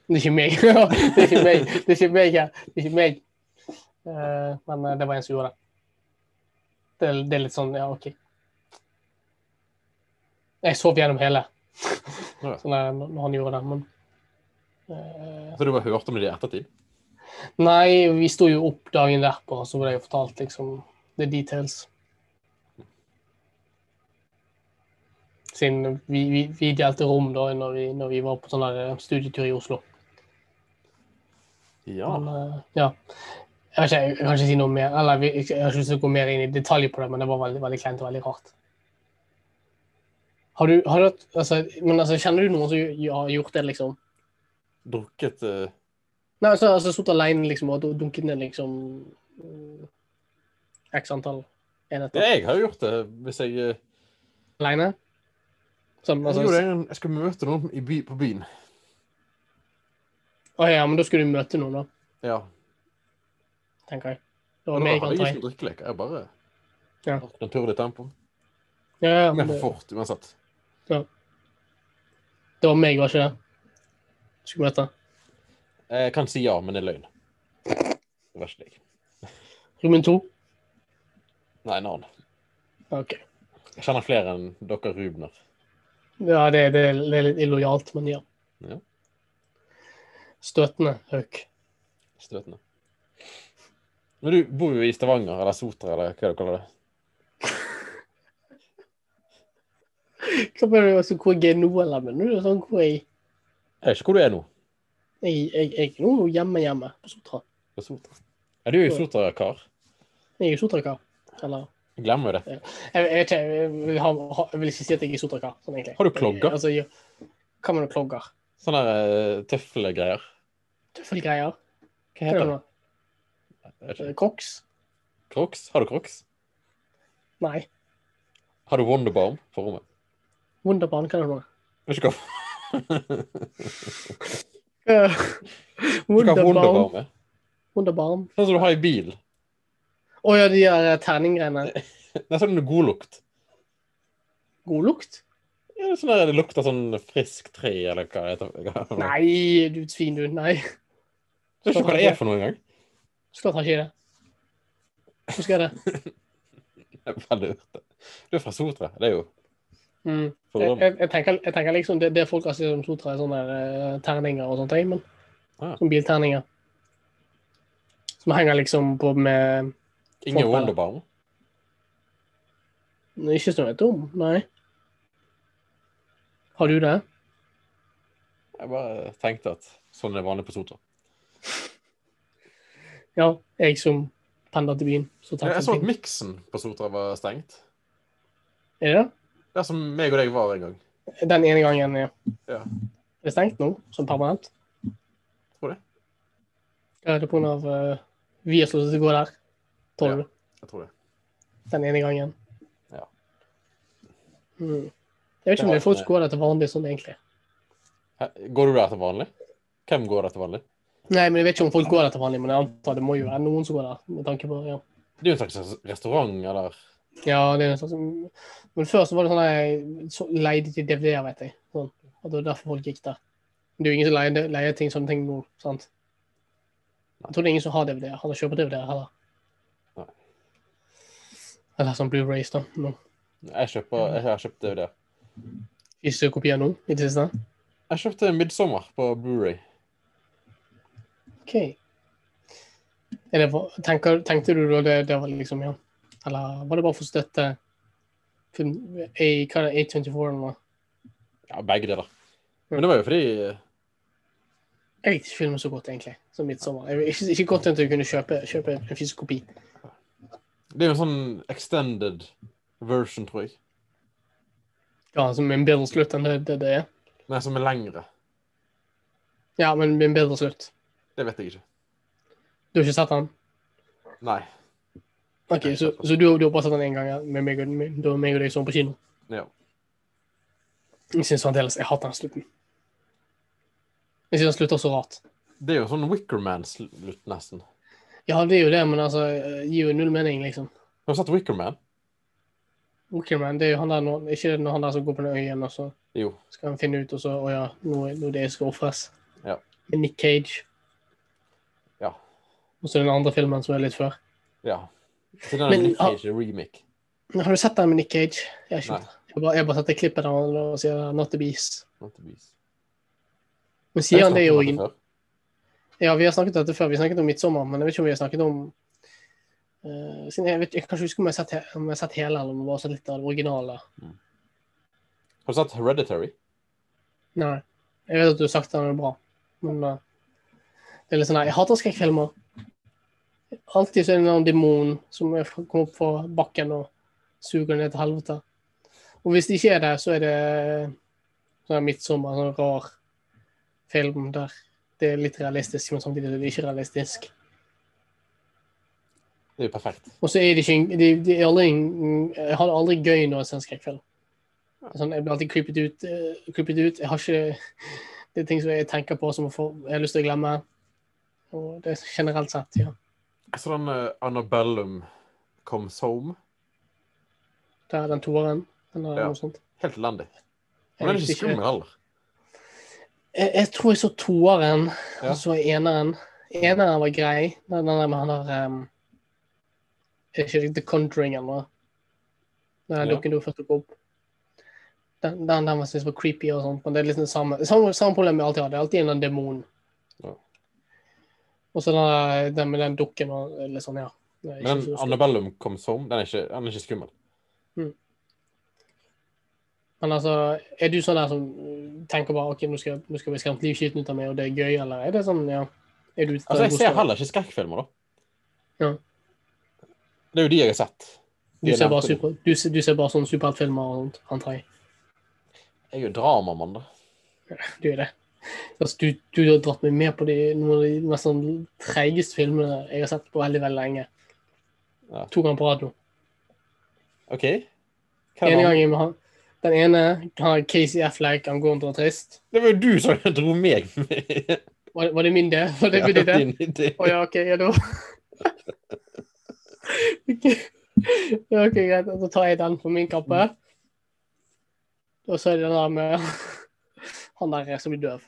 Speaker 1: Det er ikke meg. det er ikke meg. Det er ikke meg. her. Det er ikke meg. Eh, men eh, det var en som gjorde det. det. er- Det er litt sånn, ja, OK. Jeg sov gjennom hele
Speaker 2: Ja.
Speaker 1: sånn der, når når han gjorde det, men eh,
Speaker 2: Så du bare hørte om det i ettertid?
Speaker 1: Nei, vi sto jo opp dagen derpå, så ble jeg fortalt liksom the details. Siden vi, vi, vi delte rom da når vi, når vi var på sånn der eh, studietur i Oslo.
Speaker 2: Ja.
Speaker 1: Men, eh, ja. Jeg, vet ikke, jeg kan ikke si noe mer, eller vi- jeg har ikke lyst til å gå mer inn i detalj på det, men det var veldig, veldig kleint og veldig rart. Har du, har du hatt, altså, men altså, kjenner du noen som gj- har gjort det, liksom?
Speaker 2: Drukket eh,
Speaker 1: Nei, altså, altså sittet alene, liksom, og dun- dunket ned, liksom, mm, x antall
Speaker 2: Ja,
Speaker 1: enheter.
Speaker 2: jeg har jo gjort det hvis jeg eh,
Speaker 1: Alene? Sånn,
Speaker 2: Jeg gjorde
Speaker 1: altså,
Speaker 2: det en gang jeg skulle møte noen i by, på byen.
Speaker 1: å ja, men da skulle du møte noen da,
Speaker 2: Ja.
Speaker 1: tenker jeg. Det var
Speaker 2: Men da
Speaker 1: meg,
Speaker 2: hadde
Speaker 1: antar
Speaker 2: jeg
Speaker 1: jeg.
Speaker 2: ikke drikkeleker. Jeg bare
Speaker 1: Ja.
Speaker 2: hatt naturlig tempo.
Speaker 1: Ja, ja, men
Speaker 2: Men for
Speaker 1: det,
Speaker 2: fort, uansett.
Speaker 1: det var meg, var ikke det? Skulle møte.
Speaker 2: Jeg kan si ja, men det er løgn. Det var ikke deg.
Speaker 1: Ruben 2?
Speaker 2: Nei, en annen.
Speaker 1: OK.
Speaker 2: Jeg kjenner flere enn dere Rubner.
Speaker 1: Ja, det, det, det er litt illojalt, men ja.
Speaker 2: Ja.
Speaker 1: Støtende Hauk.
Speaker 2: Støtende. Men du bor jo i Stavanger, eller Sotra, eller hva du kaller det.
Speaker 1: Hva mener du altså, hvor jeg er nå, eller mener du det er sånn hvor jeg
Speaker 2: Jeg vet ikke hvor du er nå.
Speaker 1: Jeg, jeg, jeg er nå hjemme hjemme på Sotra.
Speaker 2: På Sotra. Ja, du er jo Sotra-kar.
Speaker 1: Jeg er Sotra-kar. Eller
Speaker 2: Jeg glemmer jo det.
Speaker 1: jeg, jeg vet ikke, jeg vil, ha, ha, jeg vil ikke si at jeg er Sotra-kar, sånn egentlig.
Speaker 2: Har du klogger?
Speaker 1: Jeg, altså, jeg, hva med noen klogger?
Speaker 2: Sånne der, eh, tøffelgreier.
Speaker 1: Tøffelgreier? Hva
Speaker 2: Hva
Speaker 1: er det
Speaker 2: heter
Speaker 1: for
Speaker 2: det?
Speaker 1: noe?
Speaker 2: Jeg vet ikke.
Speaker 1: Crocs?
Speaker 2: Crocs? Har du Crocs?
Speaker 1: Nei.
Speaker 2: Har du Wonderbarm på rommet?
Speaker 1: Wunderbarn, hva er det for noe?
Speaker 2: Vet ikke hva
Speaker 1: Eh,
Speaker 2: Vet ikke hva
Speaker 1: Wunderbarn.
Speaker 2: Wonderbarm er.
Speaker 1: Wunderbarn.
Speaker 2: Sånn som du har i bil.
Speaker 1: Å ja, de der eh, terninggreiene.
Speaker 2: Det er sånn god lukt.
Speaker 1: God lukt?
Speaker 2: Ja, det er sånn der det lukter sånn frisk tre, eller hva det heter. Hva-
Speaker 1: Nei, du svin, du. Nei.
Speaker 2: Jeg vet ikke hva det er for noe engang.
Speaker 1: Så klart har ikke jeg det. Hvor skal jeg det?
Speaker 2: Jeg har aldri hørt det. Du er fra Sotra. Det er jo
Speaker 1: Mm.
Speaker 2: for
Speaker 1: Jeg,
Speaker 2: rommet.
Speaker 1: jeg, jeg, tenker, jeg tenker liksom det, det folk har sett som Sotra, er sånne der, eh, terninger og sånt, jeg, men
Speaker 2: Ah.
Speaker 1: som bilterninger. Som henger liksom på med
Speaker 2: Ingen
Speaker 1: Frontbeina.
Speaker 2: Wonderbarm.
Speaker 1: Ikke som jeg vet om, nei. Har du det?
Speaker 2: Jeg bare tenkte at sånn er vanlig på Sotra.
Speaker 1: Ja, jeg som pendler til byen. Så
Speaker 2: Jeg,
Speaker 1: takk
Speaker 2: så
Speaker 1: for
Speaker 2: at
Speaker 1: ting.
Speaker 2: miksen på Sotra var stengt.
Speaker 1: Er det det?
Speaker 2: Der som meg og deg var en gang.
Speaker 1: Den ene gangen, ja.
Speaker 2: Ja.
Speaker 1: Er det stengt nå, som permanent?
Speaker 2: Tror det.
Speaker 1: Ja, det er på grunn av eh, vi har sluttet å gå der. Tror du?
Speaker 2: Jeg tror det.
Speaker 1: Den ene gangen.
Speaker 2: Ja.
Speaker 1: Mm. Jeg vet ikke om det er folk som går der til vanlig sånn, egentlig.
Speaker 2: Hæ? Går du der til vanlig? Hvem går der til vanlig?
Speaker 1: Nei, men jeg vet ikke om folk går der til vanlig, men jeg antar det må jo være noen som går der, med tanke på ja.
Speaker 2: Det er jo en slags restaurant, eller
Speaker 1: Ja, det er en slags Men før så var det sånn jeg så leide til DVD-er, vet jeg. Sånn. Og det var derfor folk gikk der. Men det er jo ingen som leier, leier ting sånne ting nå, sant? Jeg tror det er ingen som har DVD-er, eller kjøper DVD-er heller.
Speaker 2: Nei.
Speaker 1: Eller sånn Blu-rays, da. nå.
Speaker 2: Jeg kjøper, jeg har kjøpt DVD.
Speaker 1: Fysiske kopier nå, i det siste.
Speaker 2: Jeg kjøpte 'Midtsommer' på Blu-ray.
Speaker 1: OK. Er det, for- tenker, tenkte du da det, det var liksom ja? Eller var det bare for å støtte film- A, hva er det, A24 eller noe?
Speaker 2: Ja, begge deler. Men det var jo fordi
Speaker 1: Jeg likte ikke filmen så godt, egentlig. Som midtsommer. Jeg, ikke, ikke godt nok til å kunne kjøpe, kjøpe en fysisk kopi.
Speaker 2: Det er jo en sånn extended version, tror jeg.
Speaker 1: Ja, som en bedre slutt enn det det, det er.
Speaker 2: Nei, som er lengre.
Speaker 1: Ja, men en bedre slutt.
Speaker 2: Det vet jeg ikke.
Speaker 1: Du har ikke sett den?
Speaker 2: Nei.
Speaker 1: Ok, Så, så du, du har bare sett den én gang ja, med meg og, med, da meg og deg sånn på kino?
Speaker 2: Ja.
Speaker 1: Jeg syns fremdeles jeg hater den slutten. Jeg syns den slutter så rart.
Speaker 2: Det er jo sånn Wickerman-slutt, nesten.
Speaker 1: Ja, det er jo det, men altså eh, gir jo null mening, liksom.
Speaker 2: Har du sett Wickerman?
Speaker 1: Ok, men det er jo han der nå, ikke det når han der som går på den øyen, og så
Speaker 2: Jo.
Speaker 1: skal han finne ut, og så, å ja, nå er nå er det jeg skal ofres.
Speaker 2: Ja.
Speaker 1: Med Nick Cage.
Speaker 2: Ja.
Speaker 1: Og så den andre filmen som er litt før.
Speaker 2: Ja. Så den er
Speaker 1: Men,
Speaker 2: Nick
Speaker 1: har-
Speaker 2: Cage remake.
Speaker 1: Men Har du sett den med Nick Cage? Jeg har ikke
Speaker 2: Nei.
Speaker 1: sett den. Jeg bare, jeg bare setter klippet av han og sier Not the Beast.
Speaker 2: Not the Beast.
Speaker 1: Men sier han det jo
Speaker 2: Jeg snakket om før.
Speaker 1: Ja, vi har snakket om dette før. Vi snakket om Midtsommer, men jeg vet ikke om vi har snakket om eh, siden jeg, vet, jeg kan ikke huske om jeg har sett, he- om jeg har sett hele, eller om jeg bare har sett litt av det originale.
Speaker 2: Har du sett Hereditary?
Speaker 1: Nei. Jeg vet at du har sagt den er bra, men eh, det er litt sånn her Jeg hater skrekkfilmer. Alltid så er det en eller annen demon som er- kommer opp fra bakken og suger ned til helvete. Og hvis det ikke er det, så er det sånn midtsommer, sånn rar film der det er litt realistisk, men samtidig er det ikke realistisk.
Speaker 2: Det er jo perfekt.
Speaker 1: Og så er det ikke en- det, det er aldri, en- Jeg har det aldri gøy når jeg ser en skrekkfilm. Det er Sånn, jeg blir alltid creepet ut. eh, creepet ut. Jeg har ikke Det er ting som jeg tenker på som jeg får- jeg har lyst til å glemme. Og det er generelt sett, ja.
Speaker 2: Så den eh, Annabellum Comes Home
Speaker 1: Det er den toeren eller
Speaker 2: Ja.
Speaker 1: noe sånt.
Speaker 2: Helt elendig.
Speaker 1: Jeg
Speaker 2: Men den er
Speaker 1: likte
Speaker 2: ikke
Speaker 1: ikke-
Speaker 2: skummel heller.
Speaker 1: Jeg, jeg tror jeg så toeren,
Speaker 2: Ja.
Speaker 1: og så eneren. Eneren var grei. Den den der med han der um, Er det ikke The Conjuring eller noe? Den der
Speaker 2: Ja.
Speaker 1: dukken du først tok opp. Den, den, den var- synes jeg var creepy og sånt, men det er liksom det samme. Samme, samme problem jeg alltid har. Det er alltid en eller annen demon.
Speaker 2: Ja.
Speaker 1: Og så den, der- den med den dukken og litt sånn, ja. Det er ikke
Speaker 2: Men
Speaker 1: så
Speaker 2: den
Speaker 1: stor.
Speaker 2: Annabellum Comes Home, den er ikke, den er ikke skummel.
Speaker 1: Men altså, er du sånn der som uh, tenker bare OK, nå skal, nå skal vi skremme livskiten ut av meg, og det er gøy, eller er det sånn, ja Er du ute etter
Speaker 2: Altså,
Speaker 1: en
Speaker 2: jeg
Speaker 1: god
Speaker 2: ser
Speaker 1: story?
Speaker 2: heller ikke skrekkfilmer, da.
Speaker 1: Ja.
Speaker 2: Det er jo de jeg har sett.
Speaker 1: Du
Speaker 2: de
Speaker 1: ser, bare
Speaker 2: nevnte de.
Speaker 1: super, du, ser, du ser bare sånne superheltfilmer og sånt, antar jeg.
Speaker 2: Jeg er jo dramamann, da.
Speaker 1: Du er det. Altså, du, du har dratt meg med på de, noen av de mest sånn treigeste filmene jeg har sett på veldig veldig lenge.
Speaker 2: Ja.
Speaker 1: To ganger på rad nå.
Speaker 2: OK? Hva er
Speaker 1: En
Speaker 2: det med-
Speaker 1: gang med han. Den ene har Casey Affleck, han går rundt og er trist.
Speaker 2: Det var jo du som dro meg med.
Speaker 1: Var, det- var det min det? Var det min idé?
Speaker 2: din idé.
Speaker 1: Å ja, OK, ja da. Ok. ja, ok, greit. Da tar jeg den på min kappe.
Speaker 2: Mm.
Speaker 1: Og så er det den der med han der som blir døv.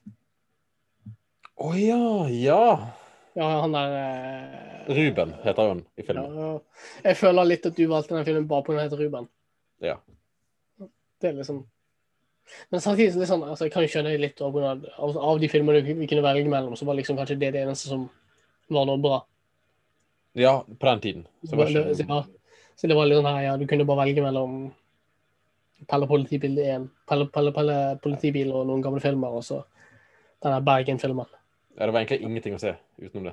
Speaker 2: Å ja, ja.
Speaker 1: Ja, han der eh,
Speaker 2: Ruben heter hun i
Speaker 1: ja,
Speaker 2: filmen.
Speaker 1: ja. Jeg føler litt at du valgte den filmen bare på den heter Ruben.
Speaker 2: Ja.
Speaker 1: Det er liksom Men samtidig så er det sånn, altså, jeg kan jo skjønne litt av, grunn av- av, av de filmene vi vi kunne velge mellom, så var liksom kanskje det det eneste som var noe bra.
Speaker 2: Ja, på den tiden. Så var
Speaker 1: det,
Speaker 2: ikke...
Speaker 1: ja. så det var litt sånn her, ja, du kunne bare velge mellom Pelle politibil 1, Pelle, Pelle, Pelle politibil og noen gamle filmer, og så denne Bergen-filmen.
Speaker 2: ja, det var egentlig ingenting å se utenom det.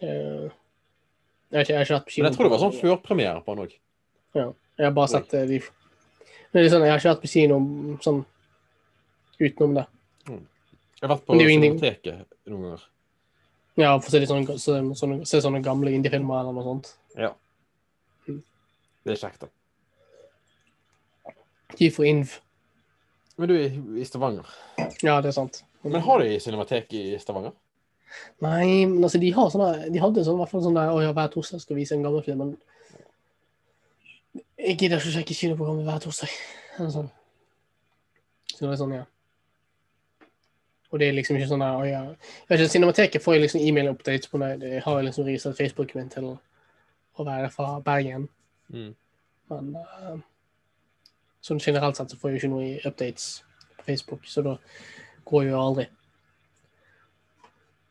Speaker 1: Eh, Jeg har ikke, jeg har ikke vært på kino.
Speaker 2: Men jeg tror det var sånn førpremiere på den òg.
Speaker 1: Jeg har bare sett eh, de Men det er sånn, jeg har ikke vært på kino sånn utenom det.
Speaker 2: Jeg har vært på
Speaker 1: Men det er jo ingenting.
Speaker 2: Cinemateket noen ganger.
Speaker 1: Ja, for å se litt sånne, så- sånne, se sånne gamle indie-filmer eller noe sånt.
Speaker 2: Ja.
Speaker 1: Mm.
Speaker 2: Det er kjekt, da.
Speaker 1: De for inv.
Speaker 2: Men du er i- i Stavanger.
Speaker 1: Ja, det er sant.
Speaker 2: Men har de cinematek i Stavanger?
Speaker 1: Nei, men altså, de har sånne De hadde sånn, i hvert fall sånn der Å ja, hver torsdag skal vi vise en gammel film, men Jeg gidder ikke å sjekke kinoprogrammet hver torsdag. Eller sånn. Så det er sånn, ja. Og det er liksom ikke sånn der Å ja Jeg vet ikke, Cinemateket får jeg liksom e-mail-updates på når jeg- jeg har liksom registrert Facebooken min til å være fra Bergen,
Speaker 2: Mm.
Speaker 1: men eh, sånn generelt sett så får jeg jo ikke noe i updates på Facebook, så da går jeg jo aldri.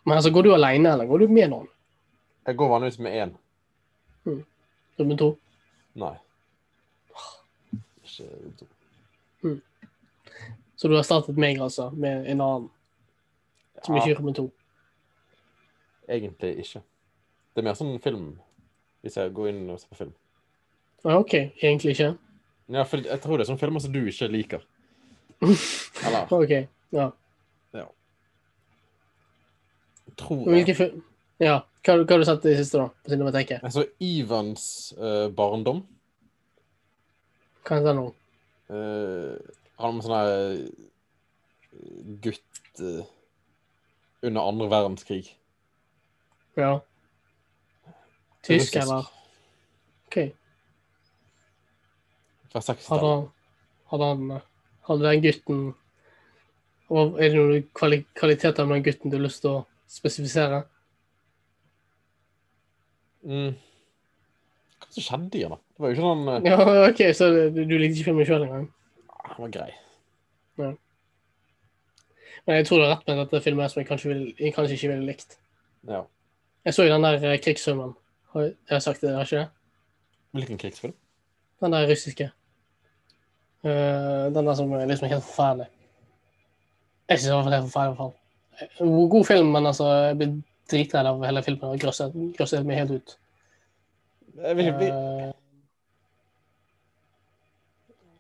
Speaker 1: Men altså, går du alene, eller går du med noen?
Speaker 2: Jeg går vanligvis med én.
Speaker 1: Nummer to.
Speaker 2: Nei. Ikke to.
Speaker 1: Så du har startet meg, altså, med en annen som ikke
Speaker 2: Ja,
Speaker 1: er nummer to.
Speaker 2: egentlig ikke. Det er mer sånn film, hvis jeg går inn og ser på film.
Speaker 1: Ja, OK, egentlig ikke.
Speaker 2: Ja, for jeg tror det er sånne filmer som altså, du ikke liker. Eller
Speaker 1: OK, ja.
Speaker 2: tror jeg.
Speaker 1: Hvilke film Ja, hva, har du- hva har du sett i det siste, da? På Cinemateket?
Speaker 2: Jeg så Altså, Ivans eh, barndom.
Speaker 1: Hva heter den nå?
Speaker 2: Uh, han med sånn her eh, gutt eh, under andre verdenskrig.
Speaker 1: Ja. Tysk,
Speaker 2: Russisk.
Speaker 1: eller? OK.
Speaker 2: Fra
Speaker 1: Hadde
Speaker 2: 60-tallet.
Speaker 1: han Hadde han eh, Hadde den gutten og Er det noen kvali kvaliteter med den gutten du har lyst til å spesifisere?
Speaker 2: Mm. Hva som skjedde i han da? Det var jo ikke sånn eh,
Speaker 1: Ja, OK, så du, du likte ikke filmen sjøl engang?
Speaker 2: Han var grei.
Speaker 1: Men jeg tror det er rett med at dette filmet er som jeg kanskje, vil, jeg kanskje ikke ville likt.
Speaker 2: Ja.
Speaker 1: Jeg så jo den der eh, krigssummen. Har jeg jeg har sagt det, har jeg ikke det?
Speaker 2: Hvilken krigsfilm?
Speaker 1: Den der russiske. Eh, den der som er liksom helt forferdelig. Jeg syns den var helt forferdelig, i hvert fall. Eh, God film, men altså, jeg ble dritredd av hele filmen og grøsset, grøsset meg helt ut.
Speaker 2: Jeg vil, vi,
Speaker 1: Eh,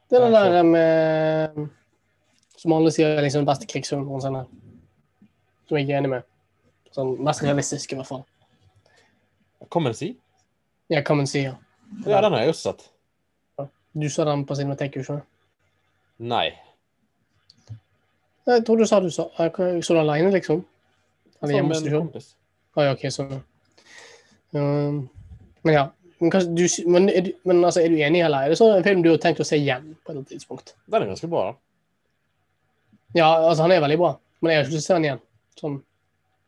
Speaker 1: det er den der eh, med Som alle sier er liksom den beste krigsfilmen noensinne. Som jeg er enig med. Sånn mest realistisk, i hvert fall.
Speaker 2: Come and see?
Speaker 1: Ja, hva man sier.
Speaker 2: Ja, den har jeg også sett.
Speaker 1: Du så den på Cinemateket, ikke sant?
Speaker 2: Nei.
Speaker 1: Jeg tror du sa du så, eh, hva- så den alene, liksom. Eller hjemme hos
Speaker 2: Sammen
Speaker 1: deg
Speaker 2: med en
Speaker 1: sjøl.
Speaker 2: kompis.
Speaker 1: Ah, ja, OK, sånn. Um, men ja. Men, kanskje, du, sy- men, er du, men altså, er du enig, eller er det sånn en film du har tenkt å se igjen på et eller annet tidspunkt?
Speaker 2: Den er ganske bra, da.
Speaker 1: Ja, altså, han er veldig bra, men jeg har ikke lyst til å se han igjen. Sånn.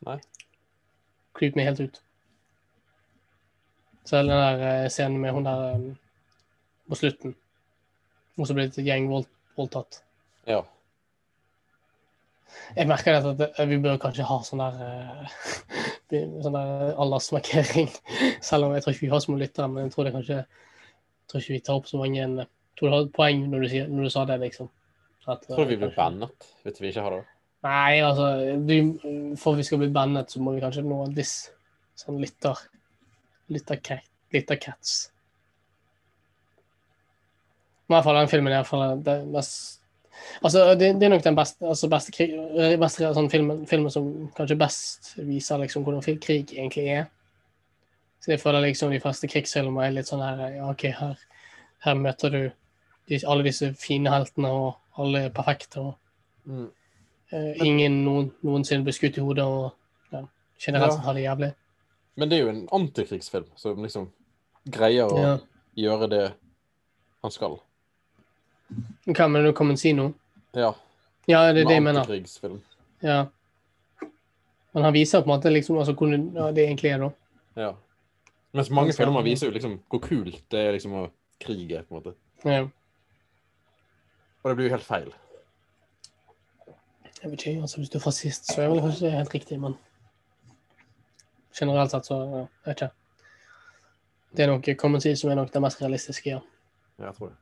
Speaker 2: Nei.
Speaker 1: Creep meg helt ut. Selv den der eh, scenen med hun der eh, på slutten. Hun som ble gjengvoldtatt.
Speaker 2: Ja.
Speaker 1: Jeg merker det at det- vi bør kanskje ha sånn der, eh, sånn der aldersmarkering. Selv om jeg tror ikke vi har så mange lyttere, men jeg tror det kanskje jeg tror ikke vi tar opp så mange Jeg tror du har et poeng når du, sier, når du sa det, liksom. At,
Speaker 2: Tror du vi
Speaker 1: eh,
Speaker 2: blir
Speaker 1: kanskje-
Speaker 2: bannet hvis vi ikke har det?
Speaker 1: Nei, altså du, For vi skal bli bannet, så må vi kanskje nå en viss sånn lytter lyttercat- lyttercats. Men i hvert fall den filmen er i hvert fall det mest Altså, det, det er nok den beste, altså beste, krig, eh, beste sånn filmen, filmen som kanskje best viser liksom hvordan fil- krig egentlig er. Så jeg føler liksom de fleste krigsfilmer er litt sånn her ja, OK, her, her møter du de, alle disse fine heltene, og alle er perfekte, og
Speaker 2: Mm.
Speaker 1: eh, ingen noen, noensinne blir skutt i hodet, og ja, generelt
Speaker 2: Ja.
Speaker 1: sett har det jævlig.
Speaker 2: Men det er jo en antikrigsfilm som liksom greier å
Speaker 1: Ja.
Speaker 2: gjøre det han skal.
Speaker 1: Hva mener du, kan man si noe?
Speaker 2: Ja,
Speaker 1: Ja, det er
Speaker 2: en
Speaker 1: det jeg mener.
Speaker 2: antikrigsfilm.
Speaker 1: Ja. Men han viser på en måte liksom, altså, hvordan ja, det egentlig er, da.
Speaker 2: Ja. Mens mange
Speaker 1: Han skal-
Speaker 2: filmer viser jo liksom hvor kult det er liksom å krige, på en måte.
Speaker 1: Ja.
Speaker 2: Og det blir jo helt feil.
Speaker 1: Jeg vet ikke, altså Hvis du er fascist, så er vel kanskje det helt riktig, men generelt sett, så ja, jeg vet ikke. Det er nok Common Sea som er nok det mest realistiske, ja.
Speaker 2: Ja, jeg tror det.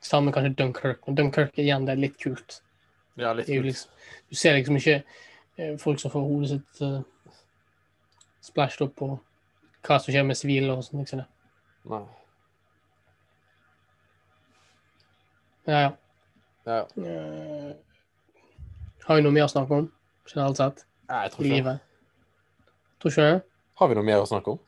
Speaker 1: Sammen med kanskje Dunkerque. Men Dunkerque igjen, det er litt kult.
Speaker 2: Ja, litt
Speaker 1: Det er jo
Speaker 2: kult.
Speaker 1: liksom, du ser liksom ikke eh, folk som får hodet sitt uh, splæsjet opp, og hva som skjer med sivile og sånn. liksom det.
Speaker 2: Nei.
Speaker 1: Ja, ja.
Speaker 2: Ja, ja.
Speaker 1: Eh, har vi noe mer å snakke om generelt sett
Speaker 2: Nei, jeg tror
Speaker 1: i
Speaker 2: ikke det.
Speaker 1: livet? Tror ikke det.
Speaker 2: Har vi noe mer å snakke om?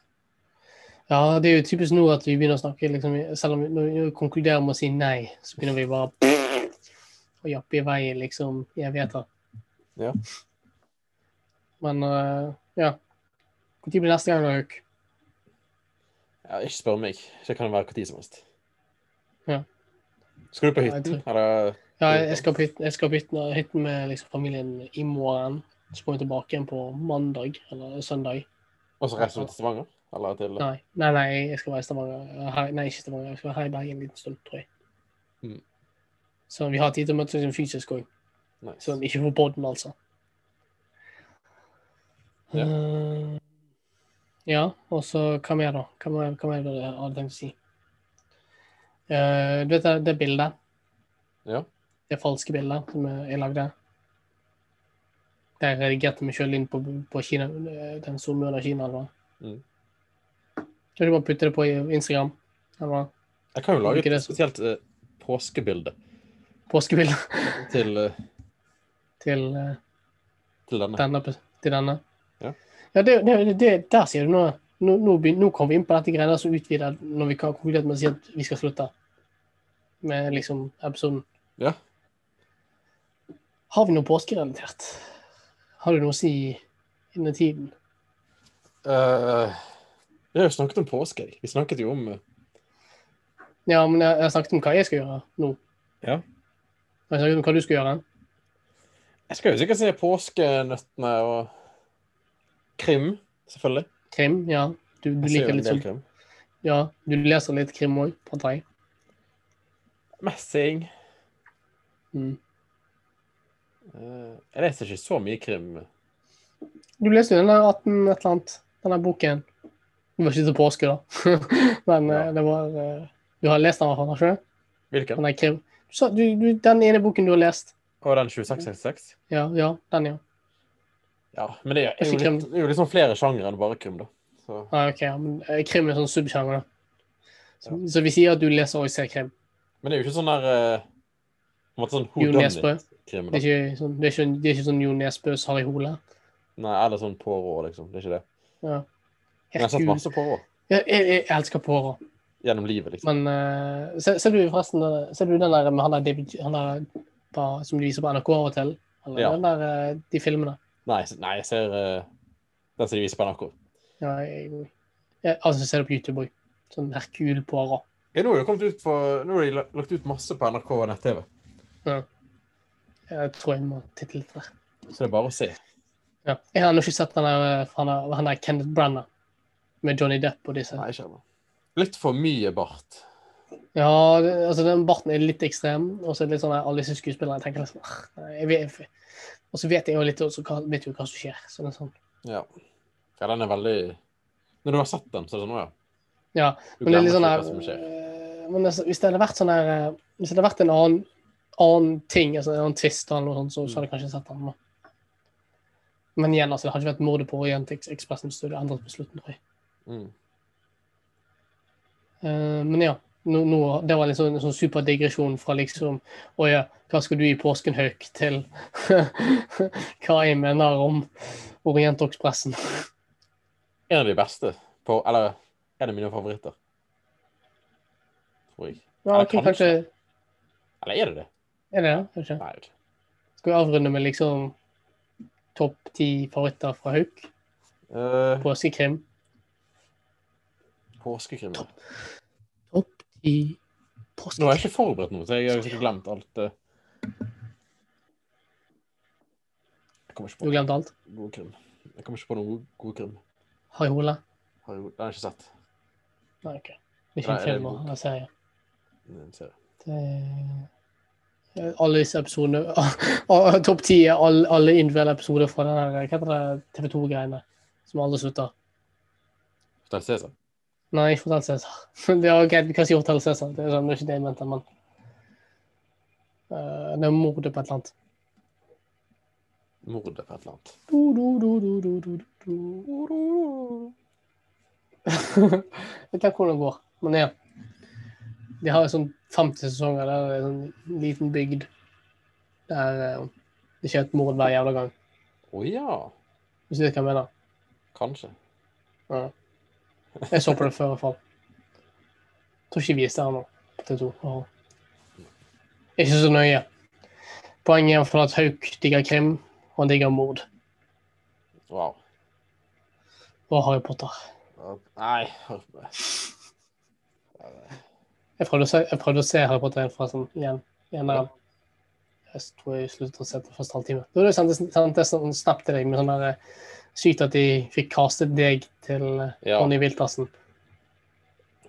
Speaker 1: Ja, det er jo typisk nå at vi begynner å snakke liksom, Selv om vi, når vi konkluderer med å si nei, så begynner vi bare å jappe i vei liksom, i evigheter.
Speaker 2: Ja.
Speaker 1: Men eh, ja. Når blir neste gang, da, Hauk?
Speaker 2: Ja, ikke spør meg. Det kan være når som helst.
Speaker 1: Ja.
Speaker 2: Skal du på
Speaker 1: Ja, jeg
Speaker 2: hytten? Eller
Speaker 1: Ja, jeg skal på hytten, jeg skal på hytten, hytten med liksom, familien i morgen. Så kommer jeg tilbake igjen på mandag eller søndag.
Speaker 2: Og så reiser vi til Stavanger? Eller til
Speaker 1: Nei, nei, nei jeg skal være i Stavanger. Her, nei, ikke Stavanger. Jeg skal være her i Bergen en liten stund, tror jeg.
Speaker 2: Mm.
Speaker 1: Så vi har tid til å møtes liksom, fysisk òg.
Speaker 2: Nice.
Speaker 1: Sånn, ikke for podden, altså.
Speaker 2: Ja.
Speaker 1: Eh, ja, og så hva mer, da? Hva mer, hva mer var det jeg hadde tenkt å si? Eh, du vet det, det bildet?
Speaker 2: Ja.
Speaker 1: Det falske bildet som jeg jeg lagde? Der jeg redigerte meg sjøl inn på, på Kina, eh, den solmuren av Kina, eller hva?
Speaker 2: Mm.
Speaker 1: Kan du bare putte det på i Instagram? Eller hva?
Speaker 2: Jeg kan jo lage
Speaker 1: Ikke det
Speaker 2: et
Speaker 1: som-
Speaker 2: spesielt eh, påskebilde
Speaker 1: Påskebildet
Speaker 2: til, eh,
Speaker 1: til eh,
Speaker 2: til denne.
Speaker 1: denne, pres- til denne.
Speaker 2: Ja.
Speaker 1: Ja, det, det, det, der sier du noe. Nå, nå, begyn- nå kom vi inn på dette greiene som utvider når vi kan konkludere med å si at vi skal slutte med liksom episoden.
Speaker 2: Ja.
Speaker 1: Har vi noe påskerelatert? Har du noe å si innen tiden?
Speaker 2: Eh, vi har jo snakket om påske. jeg. Vi snakket jo om eh,
Speaker 1: Ja, men jeg, jeg har snakket om hva jeg skal gjøre nå.
Speaker 2: Ja.
Speaker 1: Jeg har snakket om hva du skal gjøre.
Speaker 2: Jeg skal jo sikkert se påskenøttene og krim, selvfølgelig.
Speaker 1: Krim, ja. Du, du
Speaker 2: Jeg ser jo
Speaker 1: liker
Speaker 2: en
Speaker 1: litt
Speaker 2: del
Speaker 1: sånn.
Speaker 2: krim.
Speaker 1: Ja, du leser litt krim òg, antar jeg.
Speaker 2: Messing.
Speaker 1: Mm.
Speaker 2: Eh, jeg leser ikke så mye krim.
Speaker 1: Du leste jo den der 18 et eller annet, den der boken. Det var ikke til påske, da. Men eh,
Speaker 2: Ja.
Speaker 1: det var eh, Du har lest den, i hvert fall, har du ikke? det?
Speaker 2: Hvilken?
Speaker 1: Den der krim. Du sa, du, du, den ene boken du har lest.
Speaker 2: Og den 2666?
Speaker 1: Ja, ja, den, ja.
Speaker 2: Ja, men det er jo,
Speaker 1: Ikke krim.
Speaker 2: litt, det er jo liksom flere sjangre enn bare krim, da. Så
Speaker 1: Ah, ok, ja, men eh, krim er en sånn subsjanger, da. Så,
Speaker 2: Ja.
Speaker 1: så vi sier at du leser og ser krim.
Speaker 2: Men det er jo ikke sånn der eh, på en måte sånn
Speaker 1: Jo Nesbø.
Speaker 2: krim
Speaker 1: Det er ikke sånn, det er ikke, det er ikke sånn Jo Nesbøs Harry Hole.
Speaker 2: Nei, eller sånn Pårå, liksom. Det er ikke det.
Speaker 1: Ja.
Speaker 2: Men jeg har sett
Speaker 1: Herregud.
Speaker 2: masse Pårå
Speaker 1: Jeg, jeg, jeg elsker Pårå.
Speaker 2: gjennom livet, liksom.
Speaker 1: Men eh, ser, ser du forresten eh, Ser du den der med han der David han der, på, som de viser på NRK av og til? Eller
Speaker 2: Ja.
Speaker 1: den der, eh, de filmene?
Speaker 2: Nei, s- nei, jeg ser eh, den som de viser på NRK.
Speaker 1: Ja, jeg, jeg, altså, jeg ser det på YouTube òg. Sånn Herkul Poirot.
Speaker 2: Ja, nå har de lagt ut på Nå har de la- lagt ut masse på NRK og nett-TV.
Speaker 1: Ja. Jeg tror jeg må titte litt der.
Speaker 2: Så det er bare å se.
Speaker 1: Ja. Jeg har ennå ikke sett den der, eh, han der, han der Kenneth Branagh med Johnny Depp og disse.
Speaker 2: Nei, ikke ennå. Litt for mye bart.
Speaker 1: Ja, det, altså den barten er litt ekstrem, og så er det litt sånn at alle disse skuespillerne tenker liksom "Ah, nei, jeg vet, Og så vet jeg jo litt også, hva, vet jo hva som skjer. Så det er sånn.
Speaker 2: Ja. ja, den er veldig Når du har sett den, så er det sånn Å ja.
Speaker 1: Ja,
Speaker 2: Du
Speaker 1: Men det er litt
Speaker 2: glemmer
Speaker 1: sånn
Speaker 2: ikke
Speaker 1: her
Speaker 2: hva som skjer.
Speaker 1: øh, men altså, Hvis det hadde vært sånn her øh, Hvis det hadde vært en annen, annen ting, altså en annen twist eller noe sånt, så, så hadde jeg kanskje sett den. Men, men igjen, altså, det hadde ikke vært mordet på Orientekspressen hvis du hadde endret på slutten. tror jeg.
Speaker 2: Mm.
Speaker 1: Eh, men ja. Nå, nå, det var liksom en sånn super digresjon fra liksom Å ja, hva skal du i påsken, Hauk? Til hva jeg mener om Orientekspressen.
Speaker 2: En av de beste på Eller en av mine favoritter. Tror jeg.
Speaker 1: Ja,
Speaker 2: Eller
Speaker 1: ok, kanskje
Speaker 2: Eller er det det?
Speaker 1: Er det det? Kanskje.
Speaker 2: Nei, jeg vet ikke.
Speaker 1: Skal vi avrunde med liksom topp ti favoritter fra Hauk?
Speaker 2: Eh,
Speaker 1: Påskekrim.
Speaker 2: Påskekrim. Nå
Speaker 1: Topp ti
Speaker 2: er jeg
Speaker 1: påskekrim.
Speaker 2: ikke forberedt noe, så jeg har sikkert glemt alt. eh. Jeg kommer
Speaker 1: Du
Speaker 2: ikke
Speaker 1: glemte alt?
Speaker 2: på god krim. Jeg kommer ikke på noen god, god krim.
Speaker 1: Harry Hole?
Speaker 2: Har jeg- Den har jeg ikke sett.
Speaker 1: Nei, OK. Det er ikke
Speaker 2: Nei,
Speaker 1: en
Speaker 2: det er en
Speaker 1: film
Speaker 2: bok.
Speaker 1: eller serie.
Speaker 2: Den ser jeg.
Speaker 1: Det er alle disse episodene ah, Topp ti er alle, alle individuelle episoder fra den her, hva heter det, TV 2-greiene som aldri slutter.
Speaker 2: Hotel Cæsar.
Speaker 1: Nei, ikke Hotell Cæsar. Det er greit, vi kan si Hotell Cæsar. Det er sånn, det er ikke det jeg mente, men Eh, Det er mordet på et eller annet.
Speaker 2: Mordet på et eller annet.
Speaker 1: Du, du, du, du, du, du, du. Jeg vet ikke hvordan det går, men ja. De har sånn 50 sesonger der det er sånn liten bygd der eh, det skjer et mord hver jævla gang.
Speaker 2: Å ja.
Speaker 1: Hvis du vet hva jeg mener.
Speaker 2: Kanskje.
Speaker 1: Ja. Jeg så på det før i hvert fall. Tror ikke vi er der nå. på TV2. Åh. Ikke så nøye. Poenget er for at Hauk digger krim, og han digger mord.
Speaker 2: Wow.
Speaker 1: Og Harry Potter.
Speaker 2: Ja, Nei hør på meg.
Speaker 1: Jeg prøvde å se, jeg prøvde å se Harry Potter igjen fra sånn, igjen. igjen der. Jeg tror jeg sluttet å se på første halvtime. Da hadde jeg sendt, sendt jeg sånn snap til deg med sånn der eh, Sykt at de fikk castet deg til eh,
Speaker 2: Ja.
Speaker 1: Ronny Wiltersen.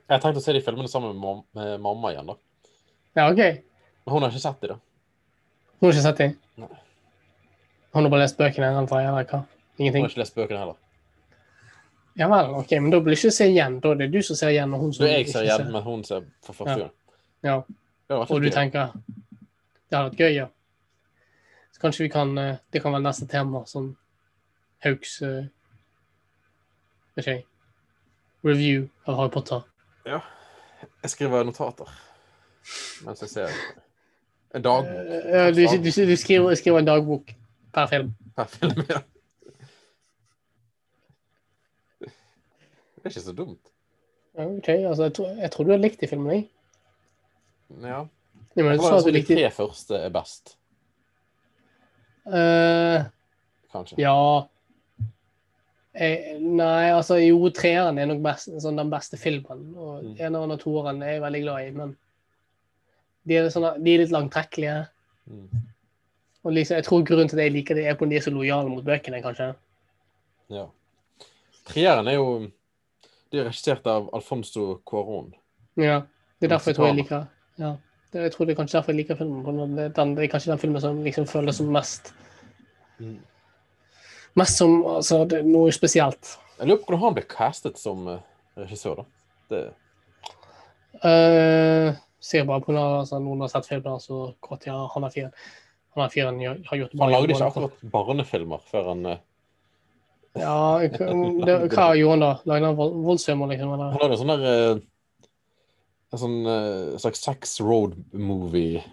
Speaker 2: Jeg tenkte å se de filmene sammen med, mam med mamma igjen, da.
Speaker 1: Ja, OK. Hun
Speaker 2: Men hun har ikke sett de, da.
Speaker 1: har ikke sett dem?
Speaker 2: Nei.
Speaker 1: Hun har bare lest bøkene? antar jeg, Eller hva?
Speaker 2: Hun
Speaker 1: Ingenting?
Speaker 2: har ikke lest bøkene heller.
Speaker 1: Ja vel, ok, men da blir det ikke se igjen. Da er det du som ser igjen, og hun
Speaker 2: Så
Speaker 1: som
Speaker 2: jeg
Speaker 1: ikke
Speaker 2: ser igjen, men hun ser for første
Speaker 1: Ja.
Speaker 2: gang.
Speaker 1: Ja,
Speaker 2: Det hadde vært
Speaker 1: Og du
Speaker 2: litt gøy.
Speaker 1: tenker det hadde vært gøy, ja. Så kanskje vi kan eh, Det kan være neste tema, sånn Hauks eh, Vet ikke jeg. Review av Harry Potter.
Speaker 2: Jeg skriver notater mens jeg ser en dagbok
Speaker 1: Eh, du, du, du skriver, skriver en dagbok per film.
Speaker 2: per film. Ja. Det er ikke så dumt.
Speaker 1: Ja, Ok, altså, jeg, tror, jeg tror du har likt de filmene, jeg.
Speaker 2: Ja.
Speaker 1: Ja, men
Speaker 2: Det
Speaker 1: du
Speaker 2: var
Speaker 1: sa at
Speaker 2: altså
Speaker 1: du
Speaker 2: de
Speaker 1: likte
Speaker 2: tre første er best,
Speaker 1: Eh,
Speaker 2: kanskje.
Speaker 1: Ja jeg, Nei, altså jo, treeren er nok best, sånn, den beste filmen. Og
Speaker 2: Mm.
Speaker 1: eneren og toeren er jeg veldig glad i, men de er, litt sånn, de er litt langtrekkelige.
Speaker 2: Mm.
Speaker 1: Og liksom, jeg tror grunnen til at jeg liker det, er på at de er så lojale mot bøkene, kanskje.
Speaker 2: Ja. Treeren er jo De er regissert av Alfonso Cuarón.
Speaker 1: Ja, Det er derfor jeg tror jeg liker ja. det. Jeg tror det er kanskje derfor jeg liker filmen. på grunn av det- Den, det er kanskje den filmen som liksom føles som mest Mm. Mest som altså, det, er noe spesielt.
Speaker 2: Jeg lurer på hvordan han ble castet som eh, regissør, da. Det,
Speaker 1: Uh, ser bare på noen, altså, noen har sett filmen, så kort, ja, han er fyren. Han er fyren gjør- har gjort
Speaker 2: han
Speaker 1: mange
Speaker 2: lagde ikke
Speaker 1: måneder.
Speaker 2: akkurat barnefilmer før han eh,
Speaker 1: Ja, k- om det, hva gjorde han da? Lagde han vold, voldsfilmer, liksom? Eller?
Speaker 2: Han lagde en sånn der eh, En sånn eh, slags sex road movie.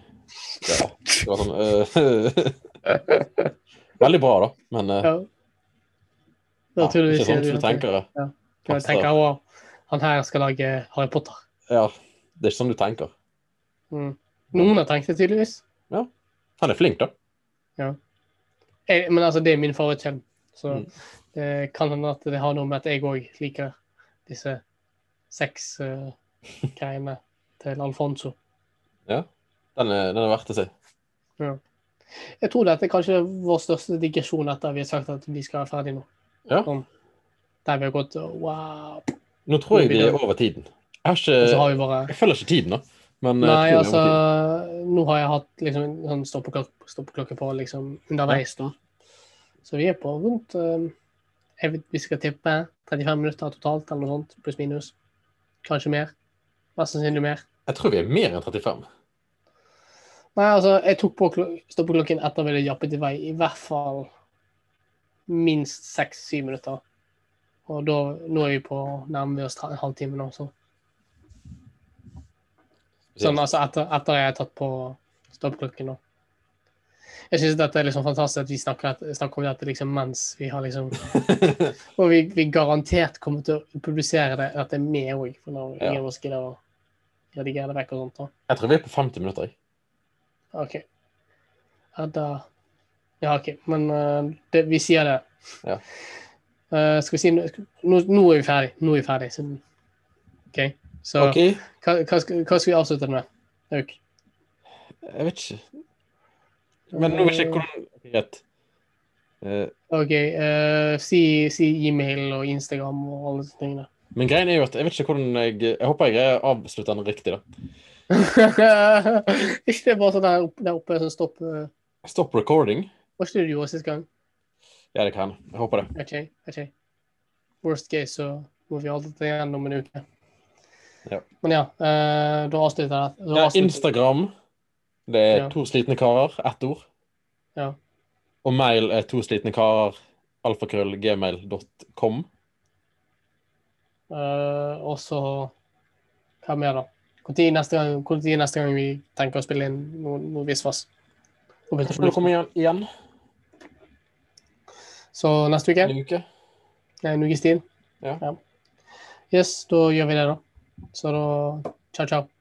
Speaker 2: Ja, det var sånn eh, Veldig bra, da, men eh,
Speaker 1: Ja.
Speaker 2: ja,
Speaker 1: Da tror du
Speaker 2: ikke
Speaker 1: ikke
Speaker 2: sånn
Speaker 1: du
Speaker 2: som du
Speaker 1: tenker.
Speaker 2: tenker det. eh,
Speaker 1: Ja. Jeg tenker «Å, han her skal lage Harry Potter.
Speaker 2: Ja, det er ikke sånn du tenker.
Speaker 1: Mm. Noen har tenkt det, tydeligvis.
Speaker 2: Han er flink, da.
Speaker 1: Jeg, men altså, det er min favorittfilm, så
Speaker 2: Mm.
Speaker 1: det kan hende at det har noe med at jeg òg liker disse seks eh, greiene til Alfonso.
Speaker 2: eh, Den er, den er verdt å se.
Speaker 1: Jeg tror dette er kanskje vår største digresjon etter vi har sagt at vi skal være ferdig nå.
Speaker 2: Ja.
Speaker 1: Sånn. Der vi har gått og wow.
Speaker 2: Nå tror jeg de er over tiden. Jeg, har
Speaker 1: Og så
Speaker 2: ikke,
Speaker 1: Altså, har vi bare
Speaker 2: Eh, jeg følger ikke tiden, da. Men jeg
Speaker 1: Nei,
Speaker 2: tror de er
Speaker 1: altså
Speaker 2: over tiden.
Speaker 1: Nå har jeg hatt liksom en sånn stoppeklokke, stoppeklokke på liksom underveis, da. Så vi er på rundt eh, Jeg vet vi skal tippe 35 minutter totalt, eller noe sånt. Pluss minus. Kanskje mer. Mest sannsynlig mer.
Speaker 2: jeg tror vi er mer enn 35.
Speaker 1: Nei, altså, jeg tok på klo- stoppeklokken etter vi hadde jappet i vei i hvert fall minst seks-syv minutter. Og da, nå er vi på nærmer vi oss tre- en halvtime nå, så. Sånn altså etter, etter jeg har tatt på stoppeklokken nå. Jeg syns dette er liksom fantastisk at vi snakker, et- snakker om dette liksom mens vi har liksom Og vi, vi garantert kommer til å publisere det, dette med òg, for når
Speaker 2: Ja.
Speaker 1: ingen av oss gidder å redigere det vekk og sånt. da.
Speaker 2: Jeg tror vi er på 50 minutter. jeg.
Speaker 1: OK. Ja, da Ja, OK. Men eh, det, vi sier det.
Speaker 2: Ja.
Speaker 1: Eh, skal vi si no- nå, nå er vi ferdig. Nå er vi ferdig. Så, OK. Så
Speaker 2: OK,
Speaker 1: hva, hva, skal, hva skal vi avslutte det med? Auk?
Speaker 2: jeg vet ikke Men nå vet jeg ikke hvordan Ok, Greit. Eh,
Speaker 1: OK. eh, si, si e-mail og Instagram og alle disse tingene.
Speaker 2: Men greien er jo at jeg vet ikke hvordan jeg Jeg håper jeg greier å avslutte den riktig, da.
Speaker 1: ikke det er bare sånn der oppe, der oppe sånn stopp eh,
Speaker 2: Stop recording.
Speaker 1: Var ikke det du gjorde sist gang?
Speaker 2: Ja, det kan jeg. Jeg håper det.
Speaker 1: OK. ok. Worst case, så må vi alltid ta igjen om en uke.
Speaker 2: Ja.
Speaker 1: Men ja, eh, da avslutter jeg det. Da
Speaker 2: Ja,
Speaker 1: avslutter-
Speaker 2: Instagram. Det er
Speaker 1: Ja.
Speaker 2: to slitne karer. Ett ord.
Speaker 1: Ja.
Speaker 2: Og mail er to slitne karer. Alfakrøll gmail.com.
Speaker 1: Eh, og så Hva mer, da? Når neste, gang- hvor tid neste gang vi tenker å spille inn noe, noe visst fast? Og begynne å
Speaker 2: Kanskje du
Speaker 1: produsere.
Speaker 2: kommer igjen, igjen
Speaker 1: Så neste uke?
Speaker 2: en uke?
Speaker 1: En ukes tid?
Speaker 2: Ja.
Speaker 1: Yes, da gjør vi det, da. Så da Ciao, ciao.